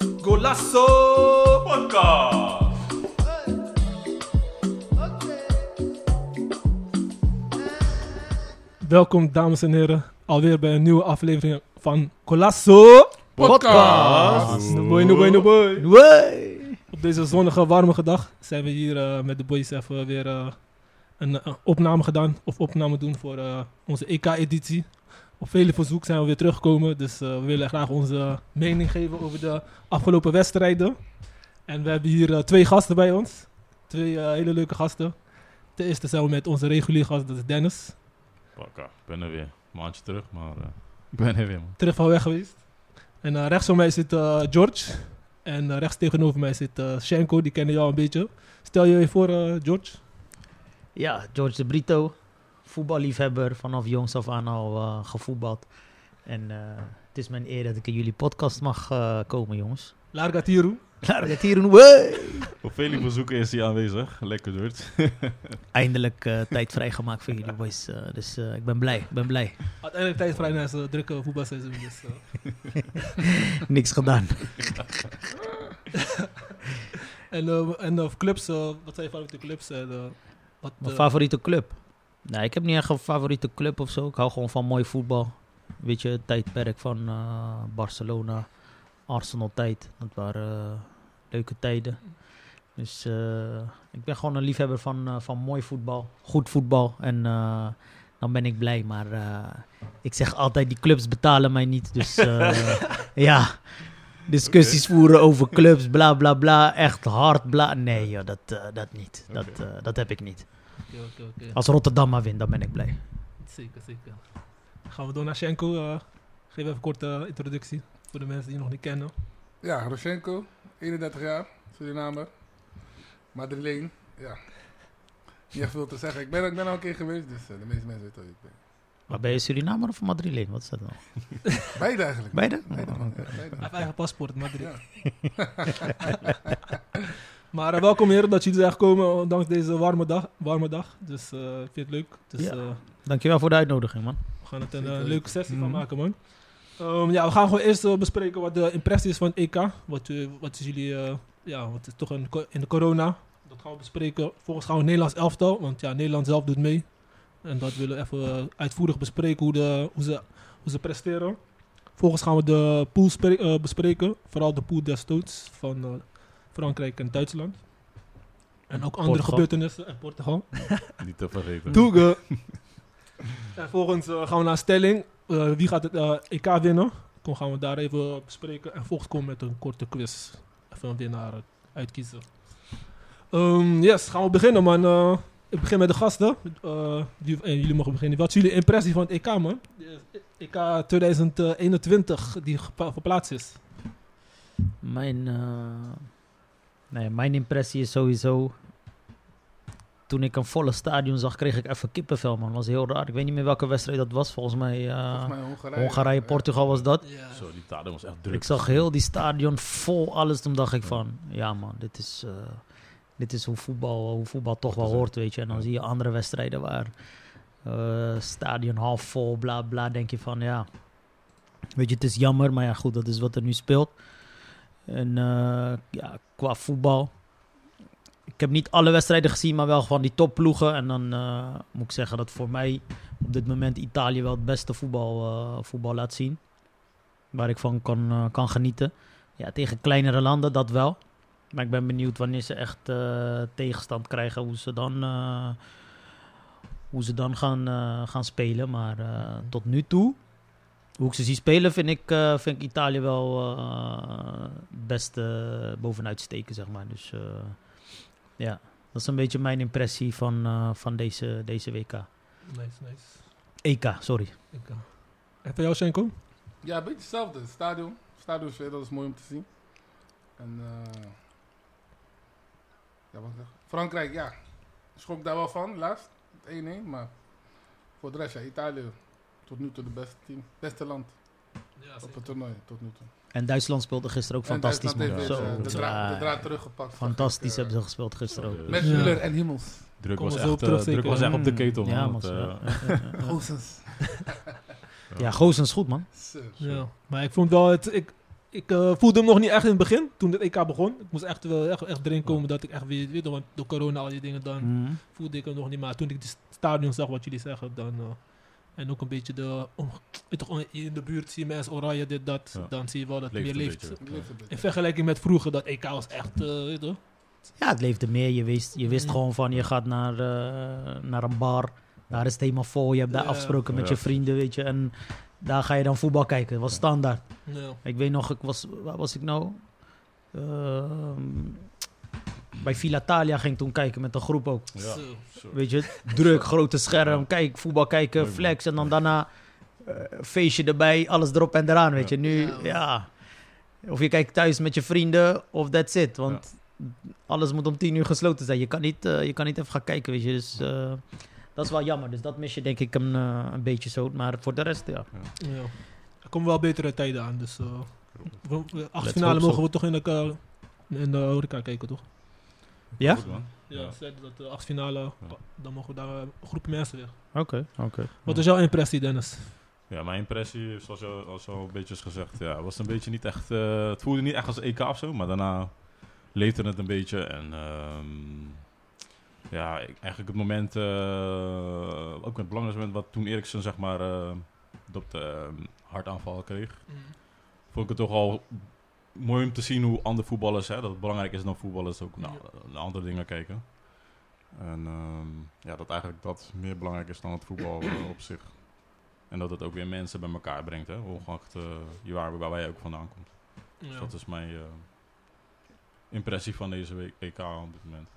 Abrazo Podcast. Welkom dames en heren, alweer bij een nieuwe aflevering van Colasso. Podcast. No boy, no boy, no boy. Wee. Op deze zonnige, warme dag zijn we hier eh, met de boys even weer eh, een eh, opname gedaan. Of opname doen voor eh, onze EK-editie. Op vele verzoek zijn we weer teruggekomen. Dus eh, we willen graag onze mening geven over de afgelopen wedstrijden. En we hebben hier eh, twee gasten bij ons. Twee eh, hele leuke gasten. Ten eerste zijn we met onze reguliere gast, dat is Dennis. Pakka, ik ben er weer. Een maandje terug, maar eh, ik ben er weer, man. terug van weg geweest. En eh, rechts van mij zit eh, George. En eh, rechts tegenover mij zit eh, Shenko, die kennen jou een beetje. Stel je je voor, eh, George. Ja, George de Brito, voetballiefhebber, vanaf jongs af aan al eh, gevoetbald. En eh, het is mijn eer dat ik in jullie podcast mag eh, komen, jongens. Larga Tiru. Laten we het hier doen. Wee. Op vele verzoeken is hij aanwezig. Lekker duurt. Eindelijk eh, tijd vrijgemaakt voor jullie boys. eh, dus eh, ik ben blij, ik ben blij. Uiteindelijk tijd vrij na zijn drukke voetbalseizoen. Dus, eh, Niks gedaan. en eh, en eh, clubs, eh, wat zijn je favoriete clubs? En, eh, wat, Mijn eh, favoriete club? Nee, ik heb niet echt een favoriete club of zo. Ik hou gewoon van mooi voetbal. Weet je, het tijdperk van eh, Barcelona, Arsenal-tijd. Dat waren eh, leuke tijden. Dus eh, ik ben gewoon een liefhebber van, eh, van mooi voetbal, goed voetbal. En eh, dan ben ik blij. Maar eh, ik zeg altijd, die clubs betalen mij niet. Dus eh, ja, discussies voeren over clubs, bla bla bla. Echt hard, bla. Nee, joh, dat, eh, dat niet. Dat, eh, dat heb ik niet. oké, oké, oké. Als Rotterdam maar wint, dan ben ik blij. Zeker, zeker. Dan gaan we door naar Shenko. eh, geef even een korte eh, introductie voor de mensen die je nog niet kennen. Ja, Roschenko, 31 jaar, Surinamer, Madrileen, ja. Niet echt veel te zeggen. Ik ben, ik ben al een keer geweest, dus eh, de meeste mensen weten wie ik ben. Maar ben je Surinamer of Madrileen? Wat is dat nou? Beide eigenlijk. Beide? Oh. Beide, man. Ja, beide. Hij heeft eigen paspoort, Madrid. Ja. Maar eh, welkom heren dat jullie zijn gekomen ondanks deze warme dag. Warme dag. Dus eh, ik vind het leuk. Dus Ja. eh, Dankjewel voor de uitnodiging, man. we gaan het Zeker een eh, weten. Mhm. leuke sessie van maken man. Ehm, ja, we gaan gewoon eerst eh, bespreken wat de impressie is van het EK. Wat, eh, wat is jullie, eh, ja, wat is toch een, co- in de corona. Dat gaan we bespreken. Volgens gaan we het Nederlands elftal, want ja, Nederland zelf doet mee. En dat willen we even eh, uitvoerig bespreken hoe, de, hoe, ze, hoe ze presteren. Volgens gaan we de pool spre- eh, bespreken. Vooral de pool des doods van eh, Frankrijk en Duitsland. En ook andere Portugal. gebeurtenissen en Portugal. Niet te vergeten. Toege. En volgens eh, gaan we naar stelling. Eh, wie gaat het eh, EK winnen? Dan gaan we daar even bespreken. En volgens komen we met een korte quiz. Even een winnaar eh, uitkiezen. Ehm, yes, gaan we beginnen man. Eh, ik begin met de gasten. Eh, die- en jullie mogen beginnen. Wat is jullie impressie van het EK man? Eh, EK 2021 die gepa- verplaatst is. Mijn, eh, nee, mijn impressie is sowieso... Toen ik een volle stadion zag, kreeg ik even kippenvel, man. Dat was heel raar. Ik weet niet meer welke wedstrijd dat was. Volgens mij, eh, Volgens mij eh, Hongarije. Hongarije, Ja. Portugal was dat. Zo, die taden was echt druk. Ik zag heel die stadion vol alles. Toen dacht ik van, ja man, dit is, eh, dit is hoe, voetbal, hoe voetbal toch wel Hoort te hoort, weet je. En dan Ja. zie je andere wedstrijden waar eh, stadion half vol, bla bla. Denk je van, ja, weet je, het is jammer. Maar ja, goed, dat is wat er nu speelt. En eh, ja, qua voetbal... Ik heb niet alle wedstrijden gezien, maar wel van die topploegen. En dan eh, moet ik zeggen dat voor mij op dit moment Italië wel het beste voetbal, eh, voetbal laat zien waar ik van kan, eh, kan genieten. Ja, tegen kleinere landen, dat wel. Maar ik ben benieuwd wanneer ze echt eh, tegenstand krijgen, hoe ze dan, eh, hoe ze dan gaan, eh, gaan spelen. Maar eh, tot nu toe, hoe ik ze zie spelen, vind ik, eh, vind ik Italië wel eh, het beste bovenuit steken, zeg maar. Dus eh, ja, dat is een beetje mijn impressie van, eh, van deze, deze WK. Nice, nice. EK, sorry. EK. En voor jou Schenko? Ja, een beetje hetzelfde. Stadion. Stadion sfeer, dat is mooi om te zien. En, eh ja, wat ik zeg. Frankrijk, ja. Schrok daar wel van, laatst. Het 1-1, maar voor de rest, ja, Italië. Tot nu toe de beste team. Beste land op het toernooi, tot nu toe. En Duitsland speelde gisteren ook fantastisch. En Duitsland man. heeft, Zo, eh, de, draad, de zwaar. draad teruggepakt. zag ik, Fantastisch eh, hebben ze gespeeld gisteren ook. Eh, Met Ja. Müller en Himmels. druk, Komen was ze echt, ook terug eh, druk zeker. was echt op de ketel, man. Mm. Ja, want, man, eh, ja, ja, ja, ja. Goossens. Ja, Goossens is goed, man. Zo, zo. Ja, maar ik vond wel het. Ik, ik eh, voelde hem nog niet echt in het begin, toen het EK begon. Ik moest echt wel echt, echt erin komen dat ik echt weer, weet je, want door corona al die dingen, dan Mm. Mhm. voelde ik hem nog niet. Maar toen ik het stadion zag, wat jullie zeggen, dan... eh, en ook een beetje de... om- weet toch, in de buurt zie je mensen oranje, dit, dat. Ja. Dan zie je wel dat het Leeft meer een leeft. beetje. Het leeft een beetje. In vergelijking met vroeger, dat EK was echt... eh, weet je toch? Ja, het leefde meer. Je wist, je wist Mm. gewoon van je gaat naar, eh, naar een bar. Daar is het helemaal vol. Je hebt daar Ja. afgesproken met Ja. je vrienden, weet je. En daar ga je dan voetbal kijken. was standaard. Ja. Ik weet nog, ik was, waar was ik nou? Ehm, bij Villa Thalia ging ik toen kijken met een groep ook. Ja. Zo. Zo. Weet je, druk, grote scherm, Ja. kijk, voetbal kijken, Leuk, man. flex. En dan daarna eh, feestje erbij, alles erop en eraan, weet Ja. je. Nu, Ja, man. ja. Of je kijkt thuis met je vrienden, of that's it. Want alles moet om tien uur gesloten zijn. Je kan niet, eh, je kan niet even gaan kijken, weet je. Dus eh, dat is wel jammer. Dus dat mis je denk ik een, eh, een beetje zo. Maar voor de rest, ja. Ja. Er komen wel betere tijden aan, dus... eh we, we, acht Let's finale hope mogen so. we toch in de, ka- in de horeca kijken, toch? Ja? Goed, man. Ja, Ja. ze zeiden dat de acht finale, dan mogen we daar eh, een groep mensen weer. Oké, oké. Wat is jouw impressie, Dennis? Ja, mijn impressie, zoals al, al zo een beetje is gezegd, ja, was een beetje niet echt. eh, het voelde niet echt als EK of zo, maar daarna leefde het een beetje. En ehm, ja, ik- eigenlijk het moment, eh, ook het belangrijkste moment, wat toen Eriksen zeg maar eh op de eh, hartaanval kreeg, Mm. vond ik het toch al mooi om te zien hoe andere voetballers, hè, dat het belangrijk is dan voetballers ook naar, naar andere dingen kijken. En ehm, ja, dat eigenlijk dat meer belangrijk is dan het voetbal eh, op zich. En dat het ook weer mensen bij elkaar brengt, hè? ongeacht eh, je waar, waar wij ook vandaan komt. Dus Ja. dat is mijn eh, impressie van deze week, EK op dit moment.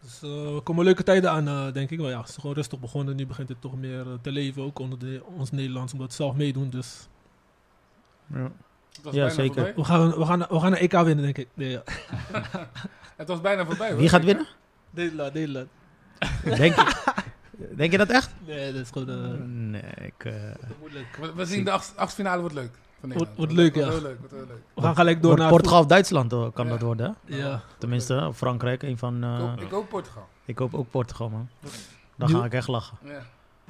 Dus eh, er komen leuke tijden aan, eh, denk ik. Maar ja, het is gewoon rustig begonnen. Nu begint het toch meer eh, te leven, ook onder de, ons Nederlands, omdat we zelf meedoen. Dus Ja. Het was Ja, bijna zeker. voorbij. we gaan, we gaan, we gaan een EK winnen, denk ik. Nee, ja. Het was bijna voorbij. hoor. Wie gaat winnen? Nederland, Nederland. Denk je, denk je dat echt? Nee, dat is gewoon eh, Nee, ik... eh, te moeilijk. We, we zien de acht, achtfinale wordt leuk. Van Nederland. wordt leuk, ja. Wordt heel leuk, wordt heel leuk. We gaan gelijk door Wordt naar... Portugal of Duitsland hoor, kan Ja. dat worden. hè? Ja. Tenminste, of Frankrijk, een van. eh, Ik hoop- ik hoop Portugal. ik hoop ook Portugal, man. Dan Nu- ga ik echt lachen. Ja.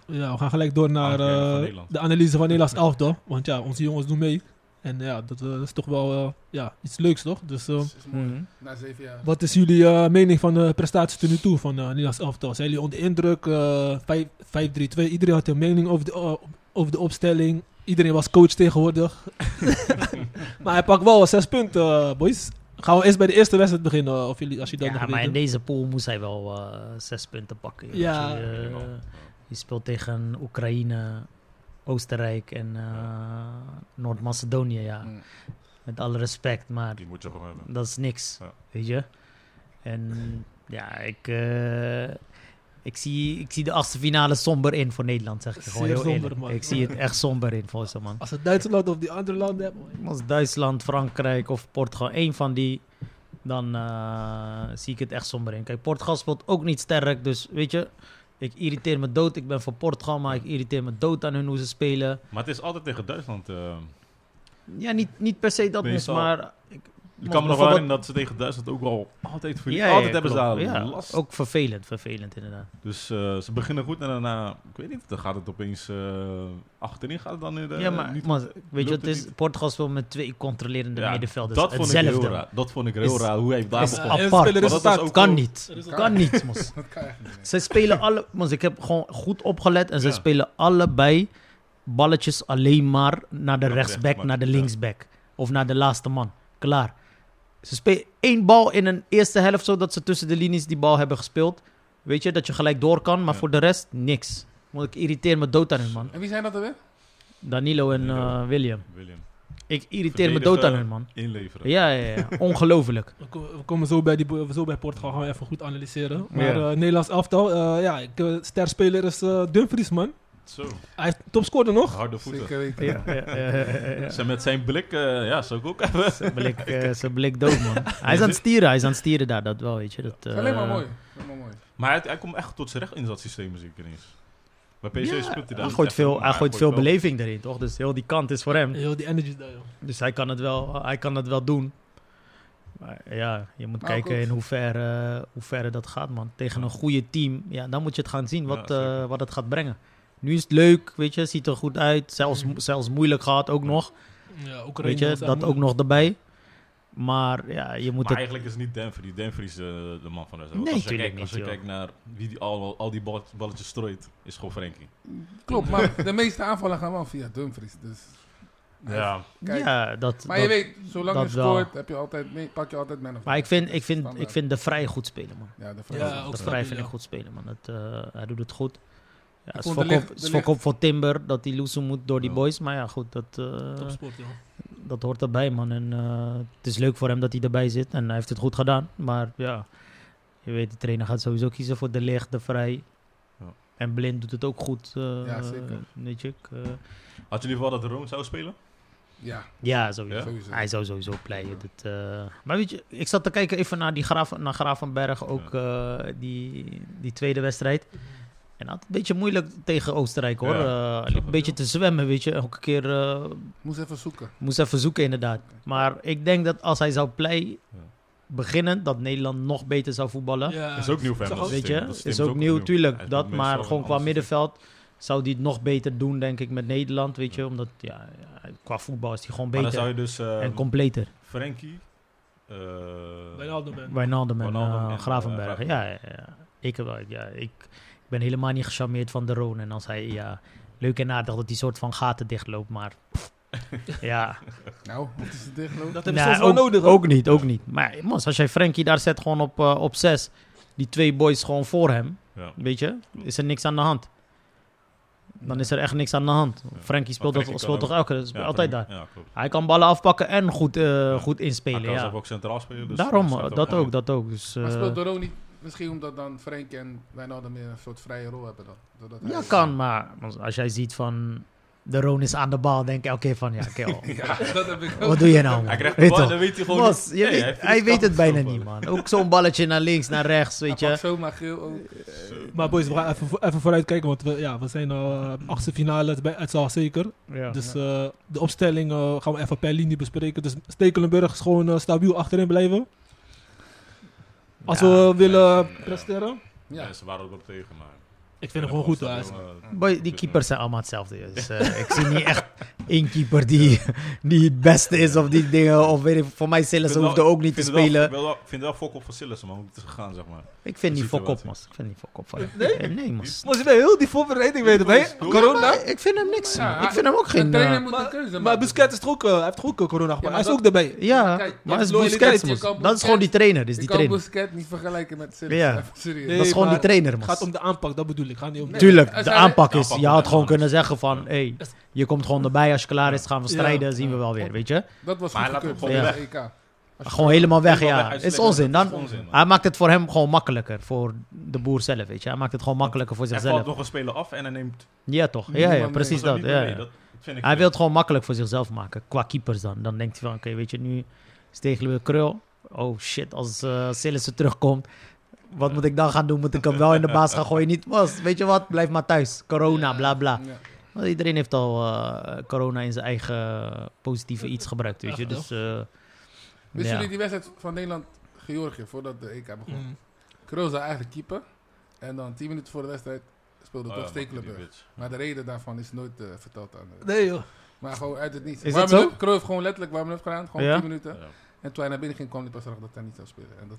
ja, we gaan gelijk door naar Aankijken Ah, van eh, Nederland. de analyse van Nederlands elftal. Want ja, onze jongens doen mee. En ja, dat eh, is toch wel eh, ja, iets leuks, toch? Dus eh, Is, is mooi. Mhm. Na zeven jaar. Wat is jullie eh, mening van de prestatie tot nu toe van eh Nederlands elftal? Zijn jullie onder indruk? eh, vijf- 5-3-2, iedereen had een mening over de, eh, over de opstelling. Iedereen was coach tegenwoordig. maar hij pakt wel zes punten, eh, boys. Gaan we eerst bij de eerste wedstrijd beginnen? eh, of jullie, als je dat Ja, nog maar in weet, hè? deze pool moest hij wel eh, zes punten pakken. weet Ja. Je, eh, Helemaal. je speelt tegen Oekraïne, Oostenrijk en eh, Noord-Macedonië, ja. Mhm. Mm. Met alle respect, maar Die moet je gewoon hebben. dat is niks. Ja. Weet je? En ja, ik, eh, ik, zie, ik zie de achtste finale somber in voor Nederland, zeg ik je gewoon Zeer heel somber, eerlijk. man. Ik zie het echt somber in voor ze, man. Als het Duitsland of die andere landen hebben. Als Duitsland, Frankrijk of Portugal, één van die, dan eh, zie ik het echt somber in. Kijk, Portugal speelt ook niet sterk, dus weet je, ik irriteer me dood. Ik ben voor Portugal, maar ik irriteer me dood aan hun hoe ze spelen. Maar het is altijd tegen Duitsland. eh. Ja, niet, niet per se dat mis, Meestal. maar... Ik, ik kan me nog wel in dat ze tegen Duitsland ook wel altijd voor Ja, ja, Altijd hebben ze daar klopt. Ja, last. Ook vervelend, vervelend inderdaad. Dus eh, ze beginnen goed en daarna, ik weet niet, dan gaat het opeens eh, achterin gaat het dan in de, ja, maar, Eh, niet- maar weet lukt je, het is, het niet. Portugal speelt met twee controlerende Ja, middenvelders. dat vond ik Hetzelfde. heel raar. Dat vond ik heel Is- raar hoe hij daar is begon. apart. Ze spelen Maar dat was resultaat. ook kan wel- niet. Resultaat. Kan niet, mos. Dat kan eigenlijk niet. Ze spelen alle... Mons, ik heb gewoon goed opgelet. En ze Ja. spelen allebei balletjes alleen maar naar de Naar de rechtsback, rechtsback, naar de ja. linksback. Of naar de laatste man. Klaar. Ze spelen één bal in een eerste helft, zodat ze tussen de linies die bal hebben gespeeld. Weet je, dat je gelijk door kan. Maar Ja. voor de rest, niks. Want ik irriteer me dood aan hun, man. En wie zijn dat er weer? Danilo en Danilo. eh, William. William, Ik irriteer me Verdedigen. dood aan hun, man. inleveren. Ja, ja, ja. Ongelooflijk. We ko- we komen zo bij, die, bo- zo bij Portugal, gaan we even goed analyseren. Maar Ja. eh, Nederlands elftal, eh, ja, ik, eh, sterspeler is eh, Dumfries, man. Zo, Hij heeft topscorer nog. harde voeten. Zeker weten. Ja, ja, ja, ja, ja. Ze met zijn blik, eh, ja, zou ik ook hebben. Zijn blik, eh, zijn blik dood, man. Hij is aan het stieren, hij is aan het stieren daar, dat wel, weet je. Dat, Dat eh, is alleen maar mooi. Alleen maar mooi. Maar hij, hij komt echt tot zijn recht in dat systeem, zie ik ineens. Bij Ja, PSV speelt hij daar hij niet gooit, echt veel, in, hij maar gooit veel wel- beleving erin, toch? Dus heel die kant is voor hem. Heel die energy daar, joh. Dus hij kan het wel, hij kan het wel doen. Maar ja, je moet Maar kijken goed. in hoeverre, eh, hoeverre dat gaat, man. Tegen een goede team, ja, dan moet je het gaan zien wat, Ja, eh, zeker. wat het gaat brengen. Nu is het leuk, weet je, ziet er goed uit. Zelfs, Mhm. zelfs moeilijk gehad ook nog. Ja, Oekraïne Weet je, was daar dat ook moeilijk. nog erbij. Maar ja, je moet Maar het... eigenlijk is het niet Denver. Denver is eh, de man van de Nee, als je, tuurlijk kijkt, als niet, je joh. kijkt naar wie die al, al die bal- balletjes strooit, is gewoon Frenkie. Klopt, maar de meeste aanvallen gaan wel via Dumfries. Dus. Ja. Kijk. ja, dat, Maar dat- je weet, zolang je dat wel. scoort, heb je altijd, nee, pak je altijd man of the maar ik vind, ik, vind, ik Standaard. vind De Vrij goed spelen, man. Ja, de Ja, ja, ook De stabiel, Vrij vind ik ja. goed spelen, man. Het, eh, hij doet het goed. Ja, het is vond De fok op- Ligt- het De is fok Ligt- op voor Timber dat hij loesen moet door die Ja. boys. Maar ja, goed, dat, eh, Topsport, joh. dat hoort erbij, man. En eh, het is leuk voor hem dat hij erbij zit en hij heeft het goed gedaan. Maar ja, je weet, de trainer gaat sowieso kiezen voor De Ligt, De Vrij. Ja. En Blind doet het ook goed. eh, Ja, zeker. Weet je, ik, eh, Had je liever wel dat Roon zou spelen? ja, ja, sowieso. sowieso. Hij zou sowieso pleiten. Dat, eh, maar weet je, ik zat te kijken even naar, die Graaf, naar Gravenberg, ook eh, die, die tweede wedstrijd. En had het een beetje moeilijk tegen Oostenrijk hoor. Ja, ik Eh, zag liep een het, beetje ja. te zwemmen, weet je. Elke keer eh, Moest even zoeken. moest even zoeken inderdaad. Maar ik denk dat als hij zou plei Ja. beginnen, dat Nederland nog beter zou voetballen. Ja, is ook nieuw voor hem. zag dat ook- Weet systeem. je, Dat is, systeem ook nieuw, Hij tuurlijk. is Dat, meestal maar een gewoon qua ander systeem. middenveld zou hij het nog beter doen, denk ik, met Nederland. Weet je, omdat ja, ja, qua voetbal is hij gewoon Maar dan zou beter je dus eh, en completer. Frenkie, eh, Wijnaldum en- Wijnaldum en Wijnaldum eh, en, Gravenberg. eh, ja, ja, ja. Ik, heb wel- ja ik, ik ben helemaal niet gecharmeerd van de Roon. En als hij, ja, leuk en aardig dat hij soort van gaten dichtloopt, maar... pff, ja, Nou, of is het dicht? Dat Dat... hebben ze Nou, soms wel nodig. hoor. ook niet, ook niet. Maar mos, als jij Frenkie daar zet gewoon op, eh, op zes, die twee boys gewoon voor hem, ja. weet je, is er niks aan de hand. Dan is er echt niks aan de hand. Ja. Frenkie speelt, Maar dat, Frenkie speelt kan toch elke, speelt Ja, altijd daar. Frenkie- Ja, klopt. Hij kan ballen afpakken en goed, eh, goed Hij inspelen, kan ja. zelf ook centraal spelen. Dus Daarom, hij staat dat gewoon ook, dat ook. Dus, Maar eh, speelt Doro niet, misschien omdat dan Frenk en Wijnaldum meer een soort vrije rol hebben dan. Doordat hij- Ja, kan, maar als jij ziet van de Roon is aan de bal, denk ik elke keer van ja, oké, oh, Ja, dat heb ik ook. wat doe je nou? in. man? Hij krijgt de Weet bal, toch? dan weet hij gewoon Mos, niet- je Nee, weet- vindt hij het weet het knap om bijna te niet, voetballen. man. Ook zo'n balletje naar links, naar rechts, weet Hij pakt je. zomaar geel ook. Maar boys, we gaan even, vo- even vooruit kijken, want we, ja, we zijn al eh, achtste finale, het, bij- het zal zeker. Ja. Dus eh, de opstelling eh, gaan we even per linie bespreken. Dus Stekelenburg is gewoon eh, stabiel achterin blijven. Als Ja, we willen mensen, ja. presteren. Ja, Ja, ze waren er ook tegen, maar... Ik vind hem gewoon goed. hoor. Hij is- Boy, die keepers zijn allemaal hetzelfde. Dus, eh, ik zie niet echt één keeper die, die het beste is of die dingen. Of weet ik, voor mij Sillissen hoefde ook niet te Ik spelen. vind wel- vind wel fok op voor Sillissen, man. Hoe het is gegaan, zeg maar. Ik vind die Ziet er fok wel op, uit. mas. Ik vind die fok op. van hem. Nee? Nee, mas. Maar je bent heel die voorbereiding weer erbij. Doe- Corona. Ik vind hem niks. Ja, man. Ik vind hem ook De geen... trainer eh, moet maar- een keuze Maar maken. Busquets is toch ook, eh, hij heeft toch ook eh, corona gehad. maar hij is dat- ook erbij. Ja, Kijk, je maar hebt het is loyaliteit, Busquets, je mos. kan Dat is gewoon die Busquets- trainer. Dus Ik die kan trainer. Busquets niet vergelijken met Sillissen. Ja. Even serieus. Nee, dat is gewoon maar die trainer, Het man. gaat om de aanpak, dat bedoel ik. Ga niet om... Nee. Tuurlijk, Als de hij- aanpak De is. aanpak moet Je had echt gewoon anders. kunnen zeggen van, hey, je komt gewoon erbij. Als je klaar is, gaan we Ja. strijden. Zien we wel weer, weet je. Dat was Maar goed laat hem gekeurd gewoon voor weg. de EK. Als je- Gewoon helemaal weg, ja. Hij Is slecht, onzin. dat is Dan, onzin, man. hij maakt het voor hem gewoon makkelijker. Voor de boer zelf, weet je. Hij maakt het gewoon makkelijker voor Hij valt zichzelf. nog een speler af en hij neemt... Ja, toch? Ja, Niemand ja mee. precies dat dat. niet ja, mee. ja. Dat vind ik Hij wil het gewoon makkelijk voor zichzelf maken. Qua keepers dan. Dan denkt hij van, oké, weet je, nu is tegen weer krul. Oh shit, als eh Sillissen terugkomt. Wat moet ik dan gaan doen? Moet ik hem wel in de baas gaan gooien? Niet, was. Weet je wat? Blijf maar thuis. Corona, bla bla. Ja. Want iedereen heeft al eh, corona in zijn eigen positieve iets gebruikt, weet je. Ja, Dus, eh, Wisten ja. jullie die wedstrijd van Nederland-Georgië voordat de EK begon? Mm. Kroos zou eigenlijk keeper. En dan 10 minuten voor de wedstrijd speelde Oh, toch ja, Stekelenburg. die bitch. Maar de reden daarvan is nooit eh, verteld aan de... Nee joh. Maar gewoon uit het niets. Is Warm dat zo? up, Kroos heeft gewoon letterlijk warm up gedaan. Gewoon Ja? 10 minuten. Ja. En toen hij naar binnen ging, kwam hij pas erachter dat hij niet zou spelen. En dat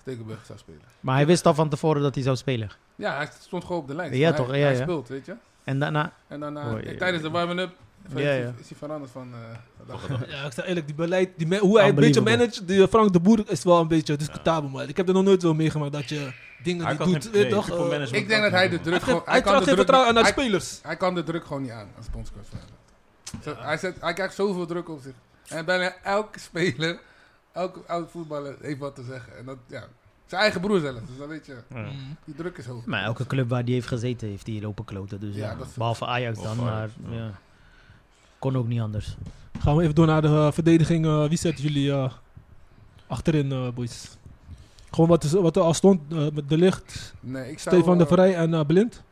Stekelenburg zou spelen. maar hij wist al van tevoren dat hij zou spelen. Ja, hij stond gewoon op de lijn. Ja, Maar hij, toch? Ja, hij ja. speelt, weet je. En daarna, En daarna, Mooi, eh, ja. tijdens de warm up, Ja, ja. is hij veranderd van... eh, dat- Ja, ik zeg eerlijk, die beleid, die me- hoe hij het een beetje Unbelievable. managt, die eh, Frank de Boer is wel een beetje discutabel, man. Ik heb er nog nooit zo meegemaakt dat je dingen Hij die kan doet. geen- weet nee, toch, eh, management Ik denk kan dat hij niet, de man. druk hij geeft- gewoon... hij kan geeft de geen druk vertrouwen aan niet- naar de hij- spelers. Hij kan de druk gewoon niet aan als bondscoach. van Nederland. Zo, hij, zet, hij krijgt zoveel druk op zich. En bijna elke speler, elke oud voetballer heeft wat te zeggen. En dat, ja, zijn eigen broer zelf. Dus dan weet je, Mm. die druk is hoog. maar elke club waar die heeft gezeten, heeft hij lopen kloten. Dus, Ja, ja, dat is- behalve Ajax dan, Of maar Ajax, ja. ja. kon ook niet anders. Gaan we even door naar de eh, verdediging. Eh, wie zetten jullie eh, achterin, eh, boys? Gewoon wat, is, wat er al stond, eh, met De Licht, Nee, ik zou, Stefan de eh, Vrij en eh, Blind.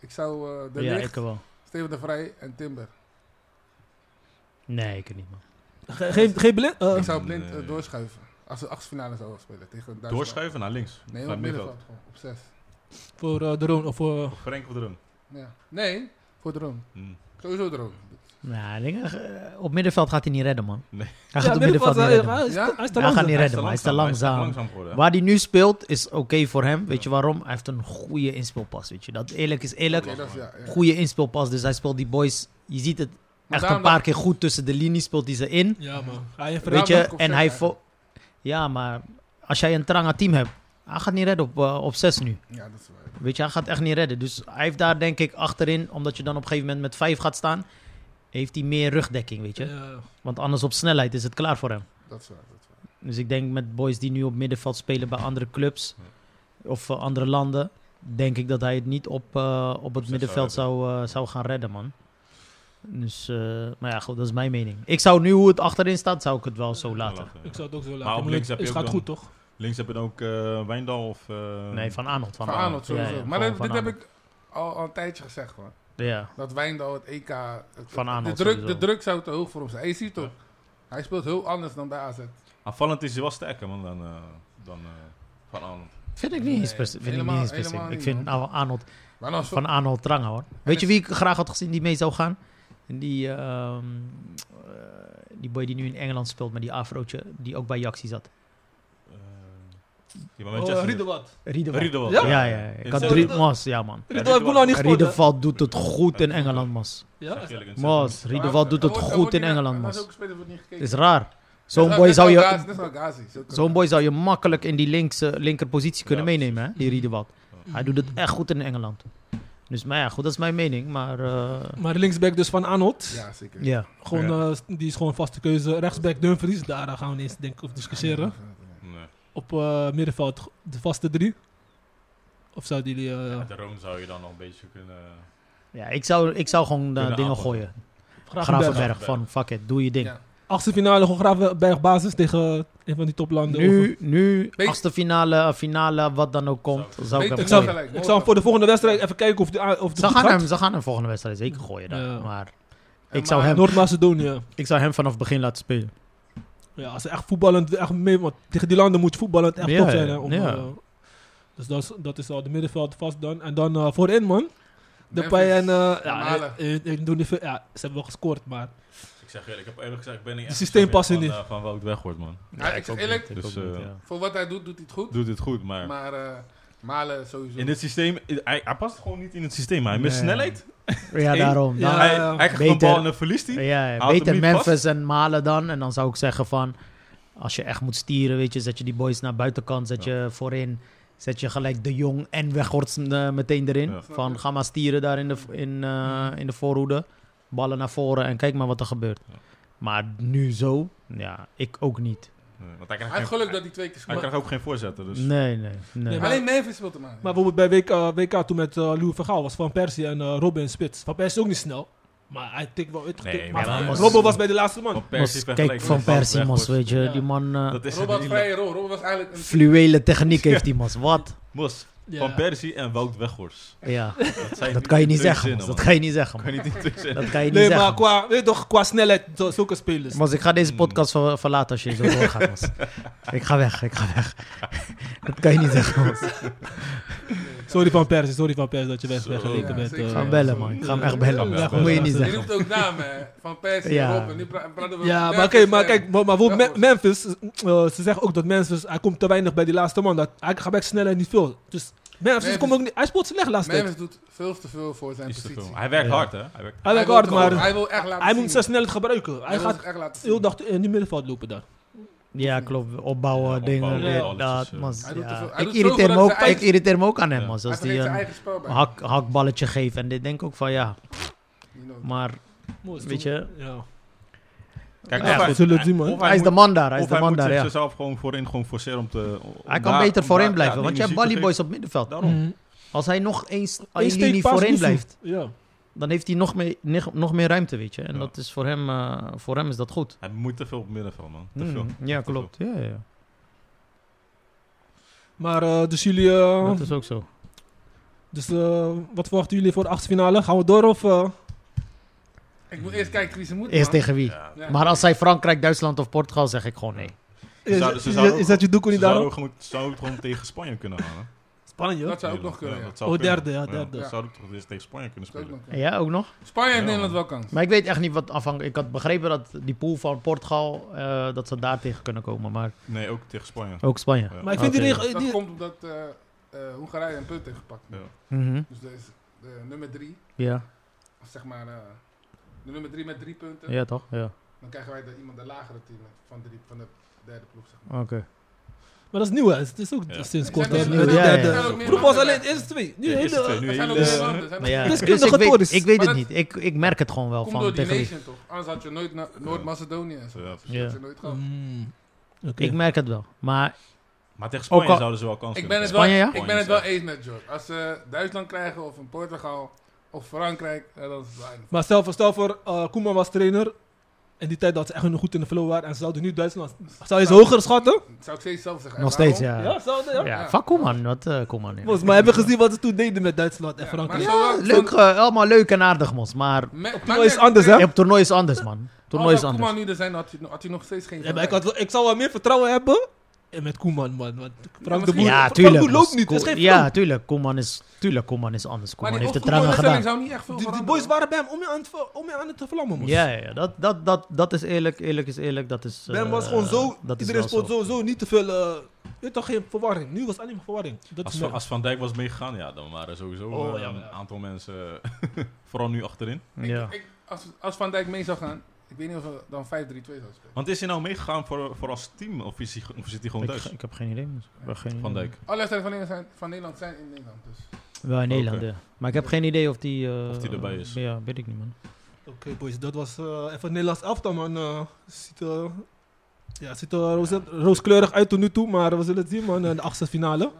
Ik zou eh, De ja, Ligt, ik wel. Steven de Vrij en Timber. Nee, ik niet, man. Ge- Geen geen Blind? Eh, ik zou blind eh, nee. doorschuiven. Als ze achtste finale zouden spelen tegen Duitsland. Doorschuiven naar links. Nee, naar op middenveld. middenveld. gewoon, Op zes. voor eh, de Roon of voor... Of Frenk of Drum. Ja. Nee, Voor drone. Mm. Sowieso drone. Ja, ik denk, eh, op middenveld gaat hij niet redden, man. Nee. Hij gaat op middenveld niet redden. eh, Hij is Ja? te- hij is te Hij gaat langzaam. Hij niet is redden, te maar hij is te Hij langzaam. is te langzaam geworden. hè? Waar hij nu speelt is oké voor hem. Weet Ja. je waarom? Hij heeft een goede inspelpas. Weet je. Dat eerlijk is Oké, eerlijk. dat is- ja, ja. Goede inspelpas. Dus hij speelt die boys. Je ziet het Maar echt een daarom paar keer goed tussen de linies speelt hij ze in. Ja, man. Hij heeft daarom Weet je, dat ik op en zes hij... eigenlijk. vo- Ja, maar als jij een Tranga team hebt, hij gaat niet redden op, eh, op 6 nu. dat- Ja, dat is waar. Weet je, hij gaat echt niet redden. Dus hij heeft daar denk ik achterin, omdat je dan op een gegeven moment met 5 gaat staan, heeft hij meer rugdekking, weet je. Ja. Want anders op snelheid is het klaar voor hem. Dat is waar. Dat is waar. Dus ik denk met boys die nu op middenveld spelen bij andere clubs of eh, andere landen, denk ik dat hij het niet op, eh, op het zes middenveld zou zou, eh, zou gaan redden, man. Dus, eh, maar ja, goed, dat is mijn mening. Ik zou nu, hoe het achterin staat, zou Oh, ik het wel zo laten. Laten, ja. Ik zou het ook zo laten. op maar het- links heb je het ook gaat dan- goed, toch? Links heb je dan ook eh, Wijndal of... eh, Nee, van Arnold. Van, Van Arnold Ja, sowieso. ja, maar gewoon dat- Van dit heb Arnold. ik al, al een tijdje gezegd, man. Ja, Dat Wijndal het EK... het- Van Aanholt de, druk, de sowieso. druk zou te hoog voor hem zijn. En je ziet toch, hij speelt heel anders dan bij AZ. Aanvallend Ah, is hij wel sterker man, dan, eh, dan eh, Van Arnold. vind ik niet eens Nee, per se- vind ik niet helemaal- eens per se. helemaal Ik niet, vind nou, Arnold, Maar dan van Arnold Tranga, hoor. Weet je wie ik graag had gezien die mee zou gaan? Die, ehm, eh, die boy die nu in Engeland speelt, maar die afrootje, die ook bij Jaxi zat. Eh, die bij Oh, Manchester- Riedewald. Riedewald. Riedewald. Ja? Ja, ja, ja. Ik had Hetzelfde. drie mas, ja man. Riedewald Boela niet gescoord, hè? Riedewald doet het goed in Engeland, mas. Ja, Zeg eerlijk, het is Mas, echt- Riedewald doet het goed in Engeland, Dat is mas. ook spelen wordt niet Het gekeken. is raar. Zo'n boy zou je... Net als Ghazi. zulke- Zo'n boy zou je makkelijk in die linkse, linkerpositie kunnen Ja, meenemen, hè? die Riedewald. Ja. Hij doet het echt goed in Engeland. Dus, maar ja, goed, dat is mijn mening. Maar eh, Maar de linksback dus van Arnold. Ja, zeker. Oh, ja, Gewoon, eh, die is gewoon vaste keuze. Rechtsback Dumfries, daar eh, gaan we niet eens denken of discussiëren. Nee. Op eh, middenveld de vaste drie. Of zouden jullie... eh, Ja, daarom zou je dan nog een beetje kunnen... ja ik, zou, ik zou gewoon eh, Kunnen dingen aanpakken. gooien. Gravenberg. Gravenberg, van fuck it, doe je ding. Ja. Achtste finale gewoon Gravenberg basis tegen een van die toplanden. Of- Nu, nu, Beter- achtste finale, eh, finale, wat dan ook komt, Zou- zou Beter ik hem Ik zou, gooien. Gelijk, ik zou hem voor de volgende wedstrijd even kijken of die, a- of die Ze goed gaan, gaat. hem, ze gaan hem volgende wedstrijd zeker gooien daar. Ja. Maar En ik zou, maar- hem, Noord-Macedonië. ik zou hem vanaf het begin laten spelen. Ja, als ze echt voetballend echt mee... Want tegen die landen moet voetballend echt Ja, top zijn. Hè, om, ja. eh, dus dat is, dat is al de middenveld vast dan. En dan eh, voorin, man. Depay en... Memphis. eh en ja, Malen. eh, eh, eh, doen niet veel- ja, ze hebben wel gescoord, maar... Ik zeg eerlijk, ik heb eerlijk gezegd, ik ben niet Het echt systeem past van, niet. eh, van welk weg wordt, man. Ja, ik zeg ook eerlijk, niet, ik Dus, ook niet, eh, ja. Voor wat hij doet, doet hij het goed. Doet dit goed, maar... Maar eh, Malen sowieso. in dit systeem, hij, hij past gewoon niet in het systeem. Hij mist Nee. snelheid. Ja, Eén. daarom. Ja, Dan, hij, ja. hij krijgt een Beter- bal en dan verliest hij. ja, ja, Houdt hem beter niet Memphis vast. en Malen dan. En dan zou ik zeggen van... Als je echt moet stieren, weet je, zet je die boys naar buitenkant. Zet je voorin. Zet je gelijk De Jong en Weghorst eh, meteen erin. Ja. Mm. Van ga maar stieren daar in de, in, eh, in de voorhoede. Ballen naar voren en kijk maar wat er gebeurt. Ja. Maar nu zo, ja, ik ook niet. Nee, want Hij hij krijgt, heeft geen, geluk hij, dat hij twee keer hij scoort. krijgt ook geen voorzetten. Dus. Nee, nee, nee. Nee, Alleen Memphis speelt hem aan. Maar bijvoorbeeld bij WK, WK toen met eh Louis Vergaal was Van Persie en eh Robin Spits. Van Persie is ook niet snel. Maar hij tikt wel uit. Nee, maar maar- Robben was bij de laatste man. Van Mos, Persie kijk, vergelijkt Van met Van Persie, Weghorst. mos, weet je. Ja. Die man, eh, Dat is Rob had het vrije rol. Rob was eigenlijk een... fluwele techniek heeft die, mos. Wat? Mos, Ja. Van Persie en Wout Weghorst. Ja, Dat, zijn dat kan je niet twee zeggen, zinnen, mos. Dat man. kan je niet zeggen, kan je niet in twee zinnen. Dat kan je niet Nee, maar zeggen. qua, weet je toch, qua snelheid, zo- zulke spelers. Mas, ik ga deze podcast ver- verlaten als je zo doorgaat, Mas. Ik ga weg, ik ga weg. Dat kan je niet zeggen, Mas. Ik Sorry Van Persie, sorry Van Persie dat je weg, Zo. weggeweken Ja, bent. zeker. eh. ga hem bellen, man. Ik ga hem echt bellen. Ja, Dat moet je niet Je zeggen. noemt ook namen, Van Persie, Ja. Rob. En nu pra- praten we ja, over maar, oké, Memphis eh, maar en- kijk, maar, maar bijvoorbeeld Weghorst. Me- Memphis, eh, ze zeggen ook dat Memphis, hij komt te weinig bij die laatste man. Dat, hij gaat bij snelheid niet veel. Dus Memphis, Memphis- komt ook niet, hij speelt slecht de laatste tijd. Memphis doet veel te veel voor zijn Is te positie. veel. Hij werkt Ja. hard, hè? Hij werkt Hij werkt wil hard, het maar gewoon- hij wil echt laten hij zien. moet zijn snelheid gebruiken. Hij wil gaat het echt laten zien. heel dag in het middenveld lopen daar. Ja, klopt. Opbouwen, Ja, dingen, opbouwen, dit, alles is, dat, eh, Mas. Hij doet ja. te veel- hij Ik, doet irriteer zoveel me dat ook, hij ik eigen- irriteer me ook aan hem, Ja. Mas. Hij Als vergeet hij zijn een eigen spel bij. eh, hak, hakballetje geeft. En dit denk ik ook van, ja. You know. Maar Mooi, is Weet toch- je? Ja. Kijk, Ja, of goed, hij- zullen we zien, man. of hij is de moet- man daar. Hij is Of de hij man moet daar, ja. zichzelf gewoon voorin gewoon forceren om te... om Hij kan daar- beter om voorin daar- blijven. ja, Want je die hebt Mm. energie te Ballyboys op middenveld. geven. Daarom. Mhm. Als hij nog eens Eén één linie steekpaas voorin is goed. blijft, Ja. dan heeft hij nog meer, neg- nog meer ruimte, weet je. En Ja. dat is voor hem, eh, voor hem is dat goed. Hij moet te veel op middenveld, man. Te veel. Hmm, Ja, Te veel. klopt. Ja, ja. Maar eh, dus jullie, eh, Dat is ook zo. dus, eh, wat verwachten jullie voor de achtste finale? Gaan we door of... eh, Ik moet eerst kijken wie ze moeten. Eerst man. tegen wie? Ja. Ja. Maar als zij Frankrijk, Duitsland of Portugal, zeg ik gewoon nee. Ze zouden- is, ze zouden is ook- dat je doekoe Ze niet daarop? zouden ook gewoon, zouden ook gewoon tegen Spanje kunnen gaan, hè? Spanje? Dat zou ook nog kunnen. Ja. Ja, dat zou Oh, kunnen. derde, ja, derde. Dat Ja. zou toch eens tegen Spanje kunnen Dat zou ook spelen. nog kunnen. Ja, ook nog. Spanje heeft Ja, Nederland wel kans. Maar ik weet echt niet wat afhankelijk. Ik had begrepen dat die pool van Portugal, eh, dat ze daar tegen kunnen komen. Maar Nee, ook tegen Spanje. ook Spanje. Ja. Maar ik vind die Oké. regel... Dat die- komt omdat eh, eh, Hongarije een punt heeft gepakt. Ja. Mhm, Dus dat is de nummer drie, Ja, of zeg maar eh, de nummer drie met drie punten. ja toch? Ja. Dan krijgen wij de, iemand een lagere team van, drie, van de derde ploeg. Zeg maar. Oké. Maar dat is nieuw, hè. Het is ook Ja. sinds Er kort. zijn hè. ook- nieuw, De- er zijn ja, ook- er ja. zijn ook meer Vroeger was landen alleen de bij. eerste twee. Nu Ja, hele... eerste twee, nu Er zijn ook hele- Nou meer landen, er zijn ook- Maar ja, Dus dus ik, kundige toerist. weet, ik weet Maar het dat- niet. Ik, ik merk het gewoon wel Kom van door die tegen wie. nation toch? Anders had je nooit naar Noord-Macedonië en zo. Ja, Dat precies. had je nooit gehad. Mm, Oké. Ik merk het wel. Maar Maar tegen Spanje Ook al- zouden ze wel kans Ik ben kunnen het wel, Spanje, ja? ik ben het wel eens met George. Als ze Duitsland krijgen of een Portugal of Frankrijk, ja, dan is het weinig. Maar stel voor, stel voor eh, Koeman was trainer. En die tijd dat ze echt goed in de flow waren. En ze zouden nu Duitsland... Zou je ze hoger schatten? Dat zou ik steeds zelf zeggen. nog En waarom? steeds, ja. Ja, Ja, zouden, ja. Ja. fuck Koeman. Wat eh, Koeman. ja. Mos, maar hebben we gezien wat ze toen deden met Duitsland en Ja, Frankrijk? maar Ja, zo wel- Leuk, eh, allemaal leuk en aardig, mos. Maar Me- maar toernooi is net- anders, hè? op toernooi is anders, man. Toernooi Als dat is anders. Koeman nu er zijn, had hij, had hij nog steeds geen maar ik, gelijk. had, wel- ik zou wel meer vertrouwen hebben in met Koeman, man. Want Frank misschien- de Boer, Ja, Frank de tuurlijk. Boer loopt mos. niet. Het is Ko- geen ja, flow. tuurlijk. Koeman is, tuurlijk. Koeman is anders. Koeman die heeft het opvoeding- eraan gedaan. zou niet echt veel Die, die boys veranderen. waren bij hem om je aan het, ver- om je aan het te vlammen, man. Ja, ja, ja. Dat, dat, dat, dat is eerlijk. Eerlijk is eerlijk. Dat is, Ben eh, was gewoon zo, dat is iedereen wel stond zo. sowieso niet te veel, eh je weet toch, geen verwarring. Nu was het alleen maar verwarring. Dat Als, is Van- mijn- als Van Dijk was meegegaan, ja, dan waren sowieso Oh, eh, ja, een ja. aantal mensen, eh, vooral nu achterin. Ja. Ik- als, als Van Dijk mee zou gaan, ik weet niet of we dan 5-3-2 zou spelen. Want is hij nou meegegaan voor, voor als team of, is hij, ge- of zit hij gewoon Ik, thuis? ik heb geen idee. mos. Ik heb geen Van idee. Dijk. Alle wedstrijden van Nederland zijn, van Nederland zijn in Nederland. Dus. Wel in Nederland, Oh, Oké. ja. Maar ik heb geen idee of die... eh, Of die erbij is. Ja, weet ik niet, man. Oké, boys, dat was eh even het Nederlands elftal, man. Eh, ziet, eh, ja, ziet er roze- rooskleurig uit tot nu toe, maar we zullen het zien, man. eh, De achtste finale.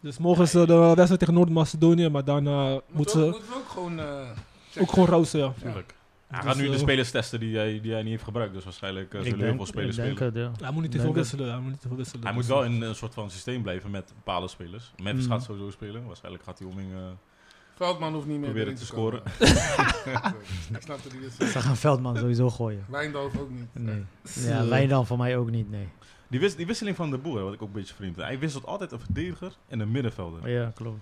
Dus morgen is eh, de wedstrijd tegen Noord-Macedonië, maar daarna moeten Moeten we, ze moeten we ook gewoon... eh, checken. ook gewoon rozen, ja. Tuurlijk. Hij Dus, gaat nu eh, de spelers testen die hij, die hij niet heeft gebruikt. Dus waarschijnlijk eh, zullen heel veel spelers ik spelen. denk het, ja. Hij moet niet te Denk veel dat- wisselen, hij moet niet te veel wisselen. Hij moet Dus, wel eh, in een soort van systeem blijven met bepaalde spelers. Memphis Mhm. Mm. gaat sowieso spelen. Waarschijnlijk gaat hij oming... eh, Veldman hoeft niet meer Proberen erin te komen. ik snap dat hij dit Ze zegt. gaan Veldman sowieso gooien. Wijndoof ook niet. Nee. Ja, Wijndal voor mij ook niet, nee. die, wis, die wisseling van de boer, wat ik ook een beetje vreemd vind. Hij wisselt altijd een verdediger en een middenvelder. Ja, klopt.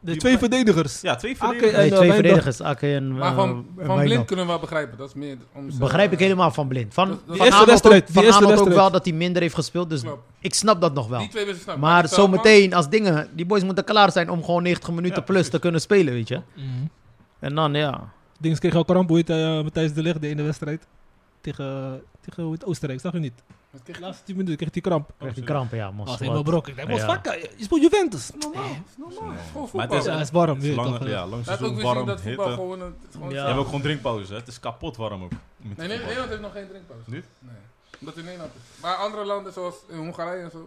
de twee verdedigers. Ja, twee Oh, Oké, verdedigers. En, Nee, eh, twee Wijndal- verdedigers, Akke en, Maar eh, van, en van Wijndal. Blind kunnen we wel begrijpen. Dat is meer om ze- eh, Begrijp ik helemaal van blind. Van, Dat- dat- van Die eerste Arnold wedstrijd, ook, die van eerste Arnold ook wedstrijd. wel dat hij minder heeft gespeeld, dus Klopt. ik snap dat nog wel. Die twee wisten snap. Nou. Maar die Veldman- zometeen, als dingen, die boys moeten klaar zijn om gewoon 90 minuten Ja, plus te kunnen spelen, weet je. Mhm. En dan, ja. Dings kreeg al kramp, hoe heet hij, eh, Matthijs de Ligt, de ene wedstrijd. Tegen, tegen hoe heet het, Oostenrijk, zag je niet? Wat kreeg De je? laatste 10 minuten kreeg hij kramp. Krijg die serieus? krampen, ja, Dat mos. is helemaal Wat- brok. Ik denk, wat Ja. fuck, je speelt Juventus. Normaal. Dat is normaal. Het is gewoon Maar het voetbal. is, eh, Ja, het is We warm. het weet is je lang, toch, ja, lang hebben ook seizoen, weer gezien warm, dat voetbal hitte. gewoon... een- het is gewoon Je Ja. hebt ook gewoon drinkpauze. hè. Het is kapot warm ook. met Nee, nee, voetbal. Nederland heeft nog geen drinkpauze. Niet? Nee. Omdat in Nederland is. Maar andere landen, zoals in Hongarije en zo,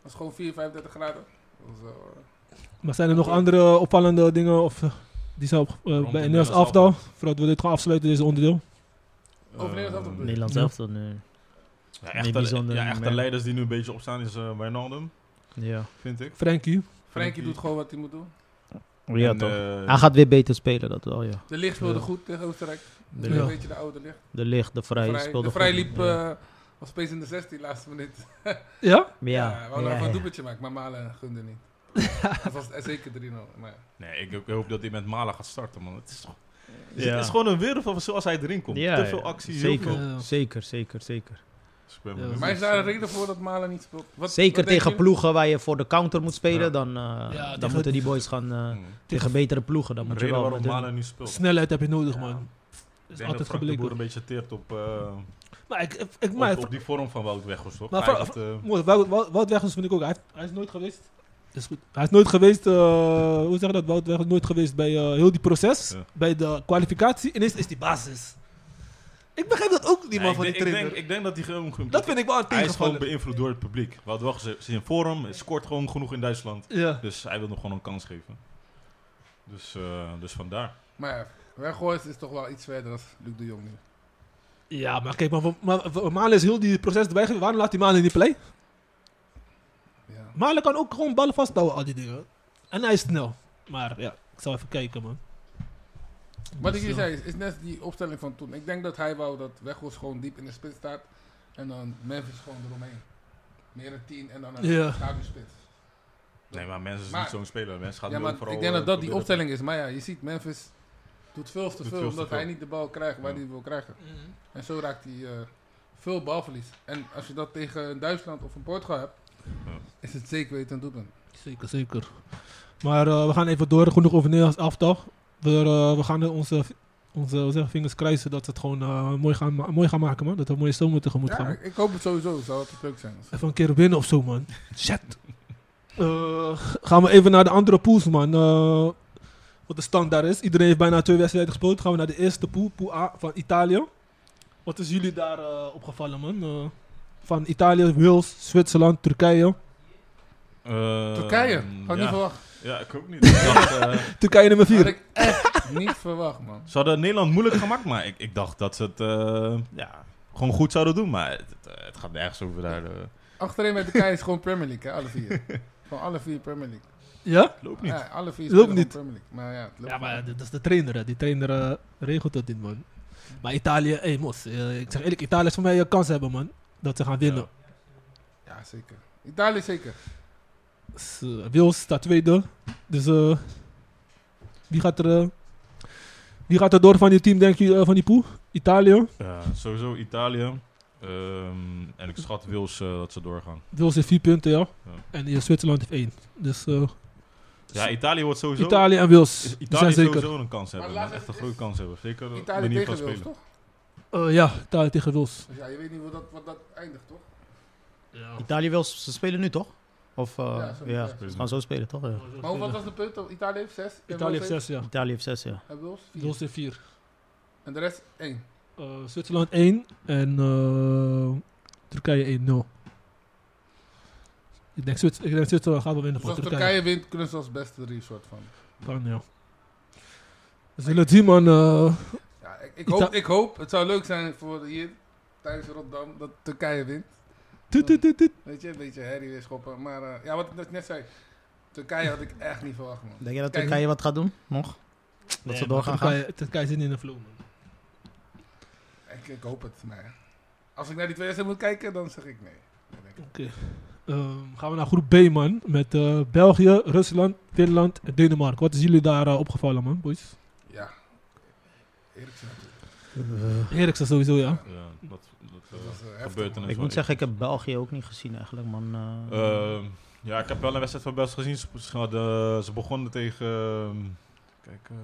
dat is gewoon 4, 35 graden. Dat is, eh, Maar zijn er nog andere opvallende dingen of, eh, die zou op- eh, bij Rondom bij Nederlands Nederlands aftal? elftal. Voordat we dit gaan afsluiten, deze onderdeel. Over Nederland had het Ehm, Nederland Ja. zelf dan, nee. Ja, Niet echte, bijzonder, ja, echte maar- leiders die nu een beetje opstaan is eh Wijnaldum, Ja, vind ik. Frankie. Frenkie doet gewoon wat hij moet doen. ja En, toch. eh, Hij gaat weer beter spelen, dat wel, ja. De licht speelde Ja. goed tegen Oostenrijk. Dat De is Ja. Een licht, beetje de oude licht. de, licht, de vrij, Vrij, speelde de vrij goed. liep, Ja. eh, was opeens in de 16 laatste minuut. Ja? Ja, we hadden ja, even een ja. doelpuntje maken, maar Malen gunde niet. dat was E zeker 3-0. Maar ja. Nee, ik, ik hoop dat hij met Malen gaat starten, man. Het is, toch- het Ja. is gewoon een wereld van zoals hij erin komt. Ja, Te veel ja. actie, zeker, heel veel... Ja. zeker, zeker, zeker. Dus ik ben Ja, benieuwd. Maar is daar een reden voor dat Malen niet speelt? Wat- zeker wat denken tegen jullie? ploegen waar je voor de counter moet spelen, Ja. dan, eh, Ja, dan tegen- moeten die boys gaan eh, Hmm. tegen betere ploegen. Dan Een moet je reden wel waarom met de- Malen niet speelt. Snelheid heb je nodig, Ja. man. Ik Dat is denk dat altijd Frank de Boer gebleken. een beetje teert op, eh, Maar ik, ik, ik- maar op, op die vorm van Wout Weghorst, toch? Maar Hij Fra- heeft, eh, Mooi, Wout, Wout, Wout Weghorst vind ik ook. Hij, heeft- hij is nooit geweest. Is goed. Hij is nooit geweest, eh, hoe zeg je dat? Wout Weghorst nooit geweest bij eh, heel die proces. Ja. Bij de kwalificatie. Ineens is die basis. Ik begrijp dat ook niet, man, nee, van ik, die denk, ik, trainer. denk, ik denk dat hij gewoon... dat vind ik wel een hij is gewoon tegenvaller. beïnvloed door het publiek. Wout Weghorst is in vorm, hij scoort gewoon genoeg in Duitsland. Ja. Dus hij wil nog gewoon een kans geven. Dus, eh, dus vandaar. Maar ja, Weghorst is toch wel iets verder dan Luc de Jong nu. ja, maar kijk, maar, maar, maar- maar Malen is heel die proces erbij geweest. Waarom laat hij Malen niet play? Ja. Malen kan ook gewoon ballen vasthouden, al die dingen. En hij is snel. Maar ja, ik zal even kijken, man. Wat Dus, ik je eh, zei, is, is net die opstelling van toen. Ik denk dat hij wou dat Weghorst gewoon diep in de spits staat. En dan Memphis gewoon eromheen. Meer een 10 en dan een Ja. schaduwspits. Nee, maar mensen is Maar- niet zo'n speler. Mensen gaan Ja, nu maar ook vooral, ik denk dat eh, dat die proberen- opstelling is. Maar ja, je ziet, Memphis doet veel te Doet veel veel te omdat veel. hij niet de bal krijgt waar Ja. hij wil krijgen. En zo raakt hij eh, veel balverlies. En als je dat tegen een Duitsland of een Portugal hebt, Ja. is het zeker weten een doelpunt. Zeker, zeker. Maar eh, we gaan even door. Genoeg over Nederlands elftal. We, eh, we gaan onze, onze wat zeg, ik, vingers kruisen dat we het gewoon eh, mooi, gaan, ma- mooi gaan maken, man. Dat we een mooie zomer tegemoet gaan. Ja, ik hoop het sowieso. Zou het leuk zijn. Even een keer winnen of zo, man. Shit. Eh, gaan we even naar de andere pools, man. Eh, wat de stand daar is. Iedereen heeft bijna twee wedstrijden gespeeld. Gaan we naar de eerste pool, pool A van Italië. Wat is jullie daar eh, opgevallen, man? Eh, van Italië, Wales, Zwitserland, Turkije. Eh, Turkije, had ik ja. niet verwacht. Ja, ik ook niet. Ik dacht, eh, Turkije nummer 4. Had ik echt niet verwacht, man. ze hadden Nederland moeilijk gemaakt, maar ik, ik dacht dat ze het eh, ja, gewoon goed zouden doen. Maar het, het, eh, het gaat nergens over daar. eh. Achterin met Turkije is gewoon Premier League, hè, alle vier. Gewoon alle vier Premier League. Ja? loopt niet. Ja, alle vier Loopt spelen gewoon niet. Premier League. Maar ja, het loopt Ja, maar niet. dat is de trainer. hè. Die trainer eh, regelt dat dit, man. Maar Italië, hé, mos. eh, ik zeg eerlijk, Italië is voor mij een kans hebben, man. Dat ze gaan winnen. Ja, zeker. Italië zeker. Dus, eh, Wils staat tweede. Dus eh, wie, gaat er, eh, wie gaat er door van die team, denk je, eh, van die poe? Italië. Ja, Eh, sowieso Italië. Ehm, en ik schat Wils eh, dat ze doorgaan. Wils heeft vier punten, ja. Ja. En eh, Zwitserland heeft één. Dus eh, Ja, Italië wordt sowieso... Italië en Wils Is- die Italië zijn zeker. sowieso een kans hebben. laat man. Echt het- een grote kans hebben. Zeker op de Italië manier van tegen Wales, spelen. toch? Eh, ja, Italië tegen Wils. Dus ja, je weet niet hoe dat, wat dat eindigt, toch? Italië wil, ze spelen nu toch? Of eh, Ja, ja, zo- ze ja. gaan zo spelen toch? Ja. Maar hoe wat was de punt? op Italië heeft 6. Italië heeft zes, ja. Italië heeft zes, ja. En Wales vier. Wils heeft vier. En de rest 1. Eh, Zwitserland 1 en eh, Turkije 1-0. Ik denk, Zwits- ik denk Zwitserland gaat wel winnen Dus voor als Turkije. Turkije wint, kunnen ze als beste drie soort van. Kan, ja. We zullen het zien, man. eh, Ja, ik, ik, Ita- hoop, ik hoop, het zou leuk zijn voor hier, thuis in Rotterdam, dat Turkije wint. tut, tut, tut, tut. Weet je, een beetje herrie weer schoppen. Maar eh, ja, wat ik net- net zei, Turkije had ik echt niet verwacht, man. Denk je dat Kijk. Turkije wat gaat doen? Nog? Dat Nee, ze maar door gaan gaan? Turkije, Turkije zit in de flow, man. Ik, ik hoop het, maar als ik naar die twee wedstrijden moet kijken, dan zeg ik nee. Dan denk ik, Ehm, gaan we naar groep B, man. Met eh, België, Rusland, Finland en Denemarken. Wat is jullie daar eh, opgevallen, man, boys? Ja, Eriksen natuurlijk. Eh, Eriksen sowieso, ja. Ja, dat, dat, eh, Dat was, eh, heftig, gebeurtenis. man. ik moet zeggen, ik heb België ook niet gezien eigenlijk, man. Eh, Ehm, ja, ik heb wel een wedstrijd van België gezien. Ze, ze hadden- ze begonnen tegen... ehm, kijk, eh,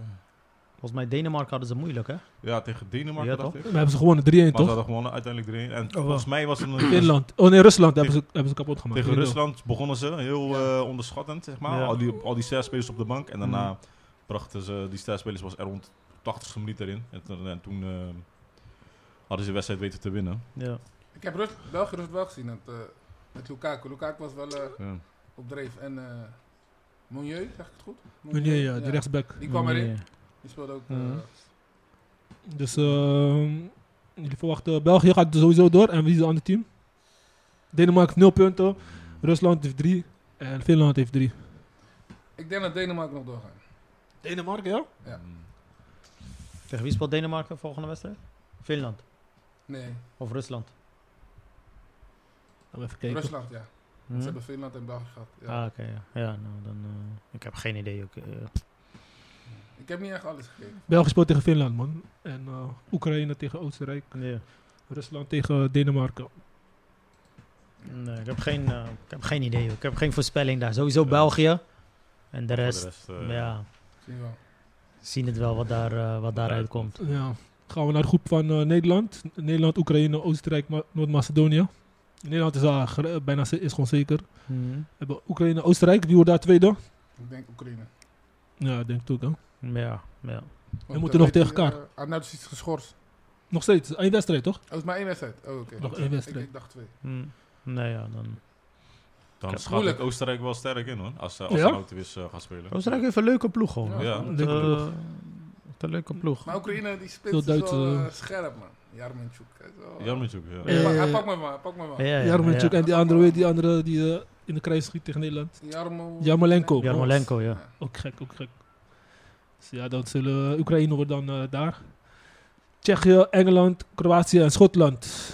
Volgens mij Denemarken hadden ze moeilijk, hè? ja, tegen Denemarken, Ja, dacht toch? Oh, ik. We hebben ze gewonnen 3-1, Maar ze toch? hadden gewonnen uiteindelijk erin. En wel. volgens mij was het een... Finland. Oh nee, Rusland hebben ze, hebben ze kapot gemaakt. Tegen 3-0. Rusland begonnen ze heel eh, onderschattend, zeg maar. Ja. Al, die, al die zes spelers op de bank. En daarna Mm. brachten ze die zes spelers was er rond 80ste minuut erin. En, toen- en toen eh, hadden ze de wedstrijd weten te winnen. Ja. Ik heb Rus- België Rust wel gezien, het, eh, met Lukaku. Lukaku was wel eh, Ja. op dreef. En eh Monieu, zeg ik het goed? Meunier, ja, die rechtsback. Die kwam erin, Nee. die speelde ook. eh, Mhm. Dus ehm, jullie verwachten België gaat sowieso door. En wie is het andere team? Denemarken heeft 0 punten. Rusland heeft 3. En Finland heeft 3. ik denk dat Denemarken nog doorgaan. Denemarken, ja? Ja. Tegen wie speelt Denemarken volgende wedstrijd? Finland Nee, of Rusland? Laten we even kijken. Rusland, ja. Hm? Ze hebben Finland en België gehad. Ja. Ah, oké. ja. ja, nou dan... eh, ik heb geen idee. ook, eh. Ik heb niet echt alles gekeken. België speelt tegen Finland, man. En eh, Oekraïne tegen Oostenrijk. nee. Rusland tegen Denemarken. Nee, ik, heb geen, eh, ik heb geen idee. ook. Ik heb geen voorspelling daar. Sowieso België. En de Voor rest, eh, ja, Zie je wel. zien het wel wat, daar, eh, wat daaruit komt. Ja. Gaan we naar de groep van eh, Nederland. Nederland, Oekraïne, Oostenrijk, Ma- Noord-Macedonië. Nederland is daar gere- bijna ze- is gewoon zeker. We Hm. hebben Oekraïne, Oostenrijk. Wie wordt daar tweede? Ik denk Oekraïne. Ja, ik denk ik ook, hè. Ja, ja. Want, moeten eh, nog tegen weet je, elkaar. eh, Arnoud is iets geschorst. Nog steeds. Eén wedstrijd, toch? Oh, het is maar één wedstrijd. Oh, oké. Nog Ik- één wedstrijd. Ik, ik dacht twee. Hm. Nee, ja, dan... Dan Kijk, schat moeilijk. ik Oostenrijk wel sterk in hoor. Als, eh, als Ja? ze nou te wis eh, gaan spelen. Oostenrijk heeft een leuke ploeg, Oh, hoor. Ja, Ja, Wat, een leuke eh, ploeg. wat een leuke ploeg. Maar Oekraïne, die spits Veel is wel Duitse- eh, scherp, man. Jarmenchuk. hij is wel, eh, Jammer natuurlijk. Ja. Ja. Hij, Eh, hij pakt me maar, hij pakt me maar. Ja, ja, Jarmolenko ja. en die andere, die andere die eh, in de kruis schiet tegen Nederland. Jarmo... Jarmolenko. Jarmolenko, ja. Ook gek, ook gek. Dus ja, dan zullen Oekraïne wordt dan eh, daar. Tsjechië, Engeland, Kroatië en Schotland.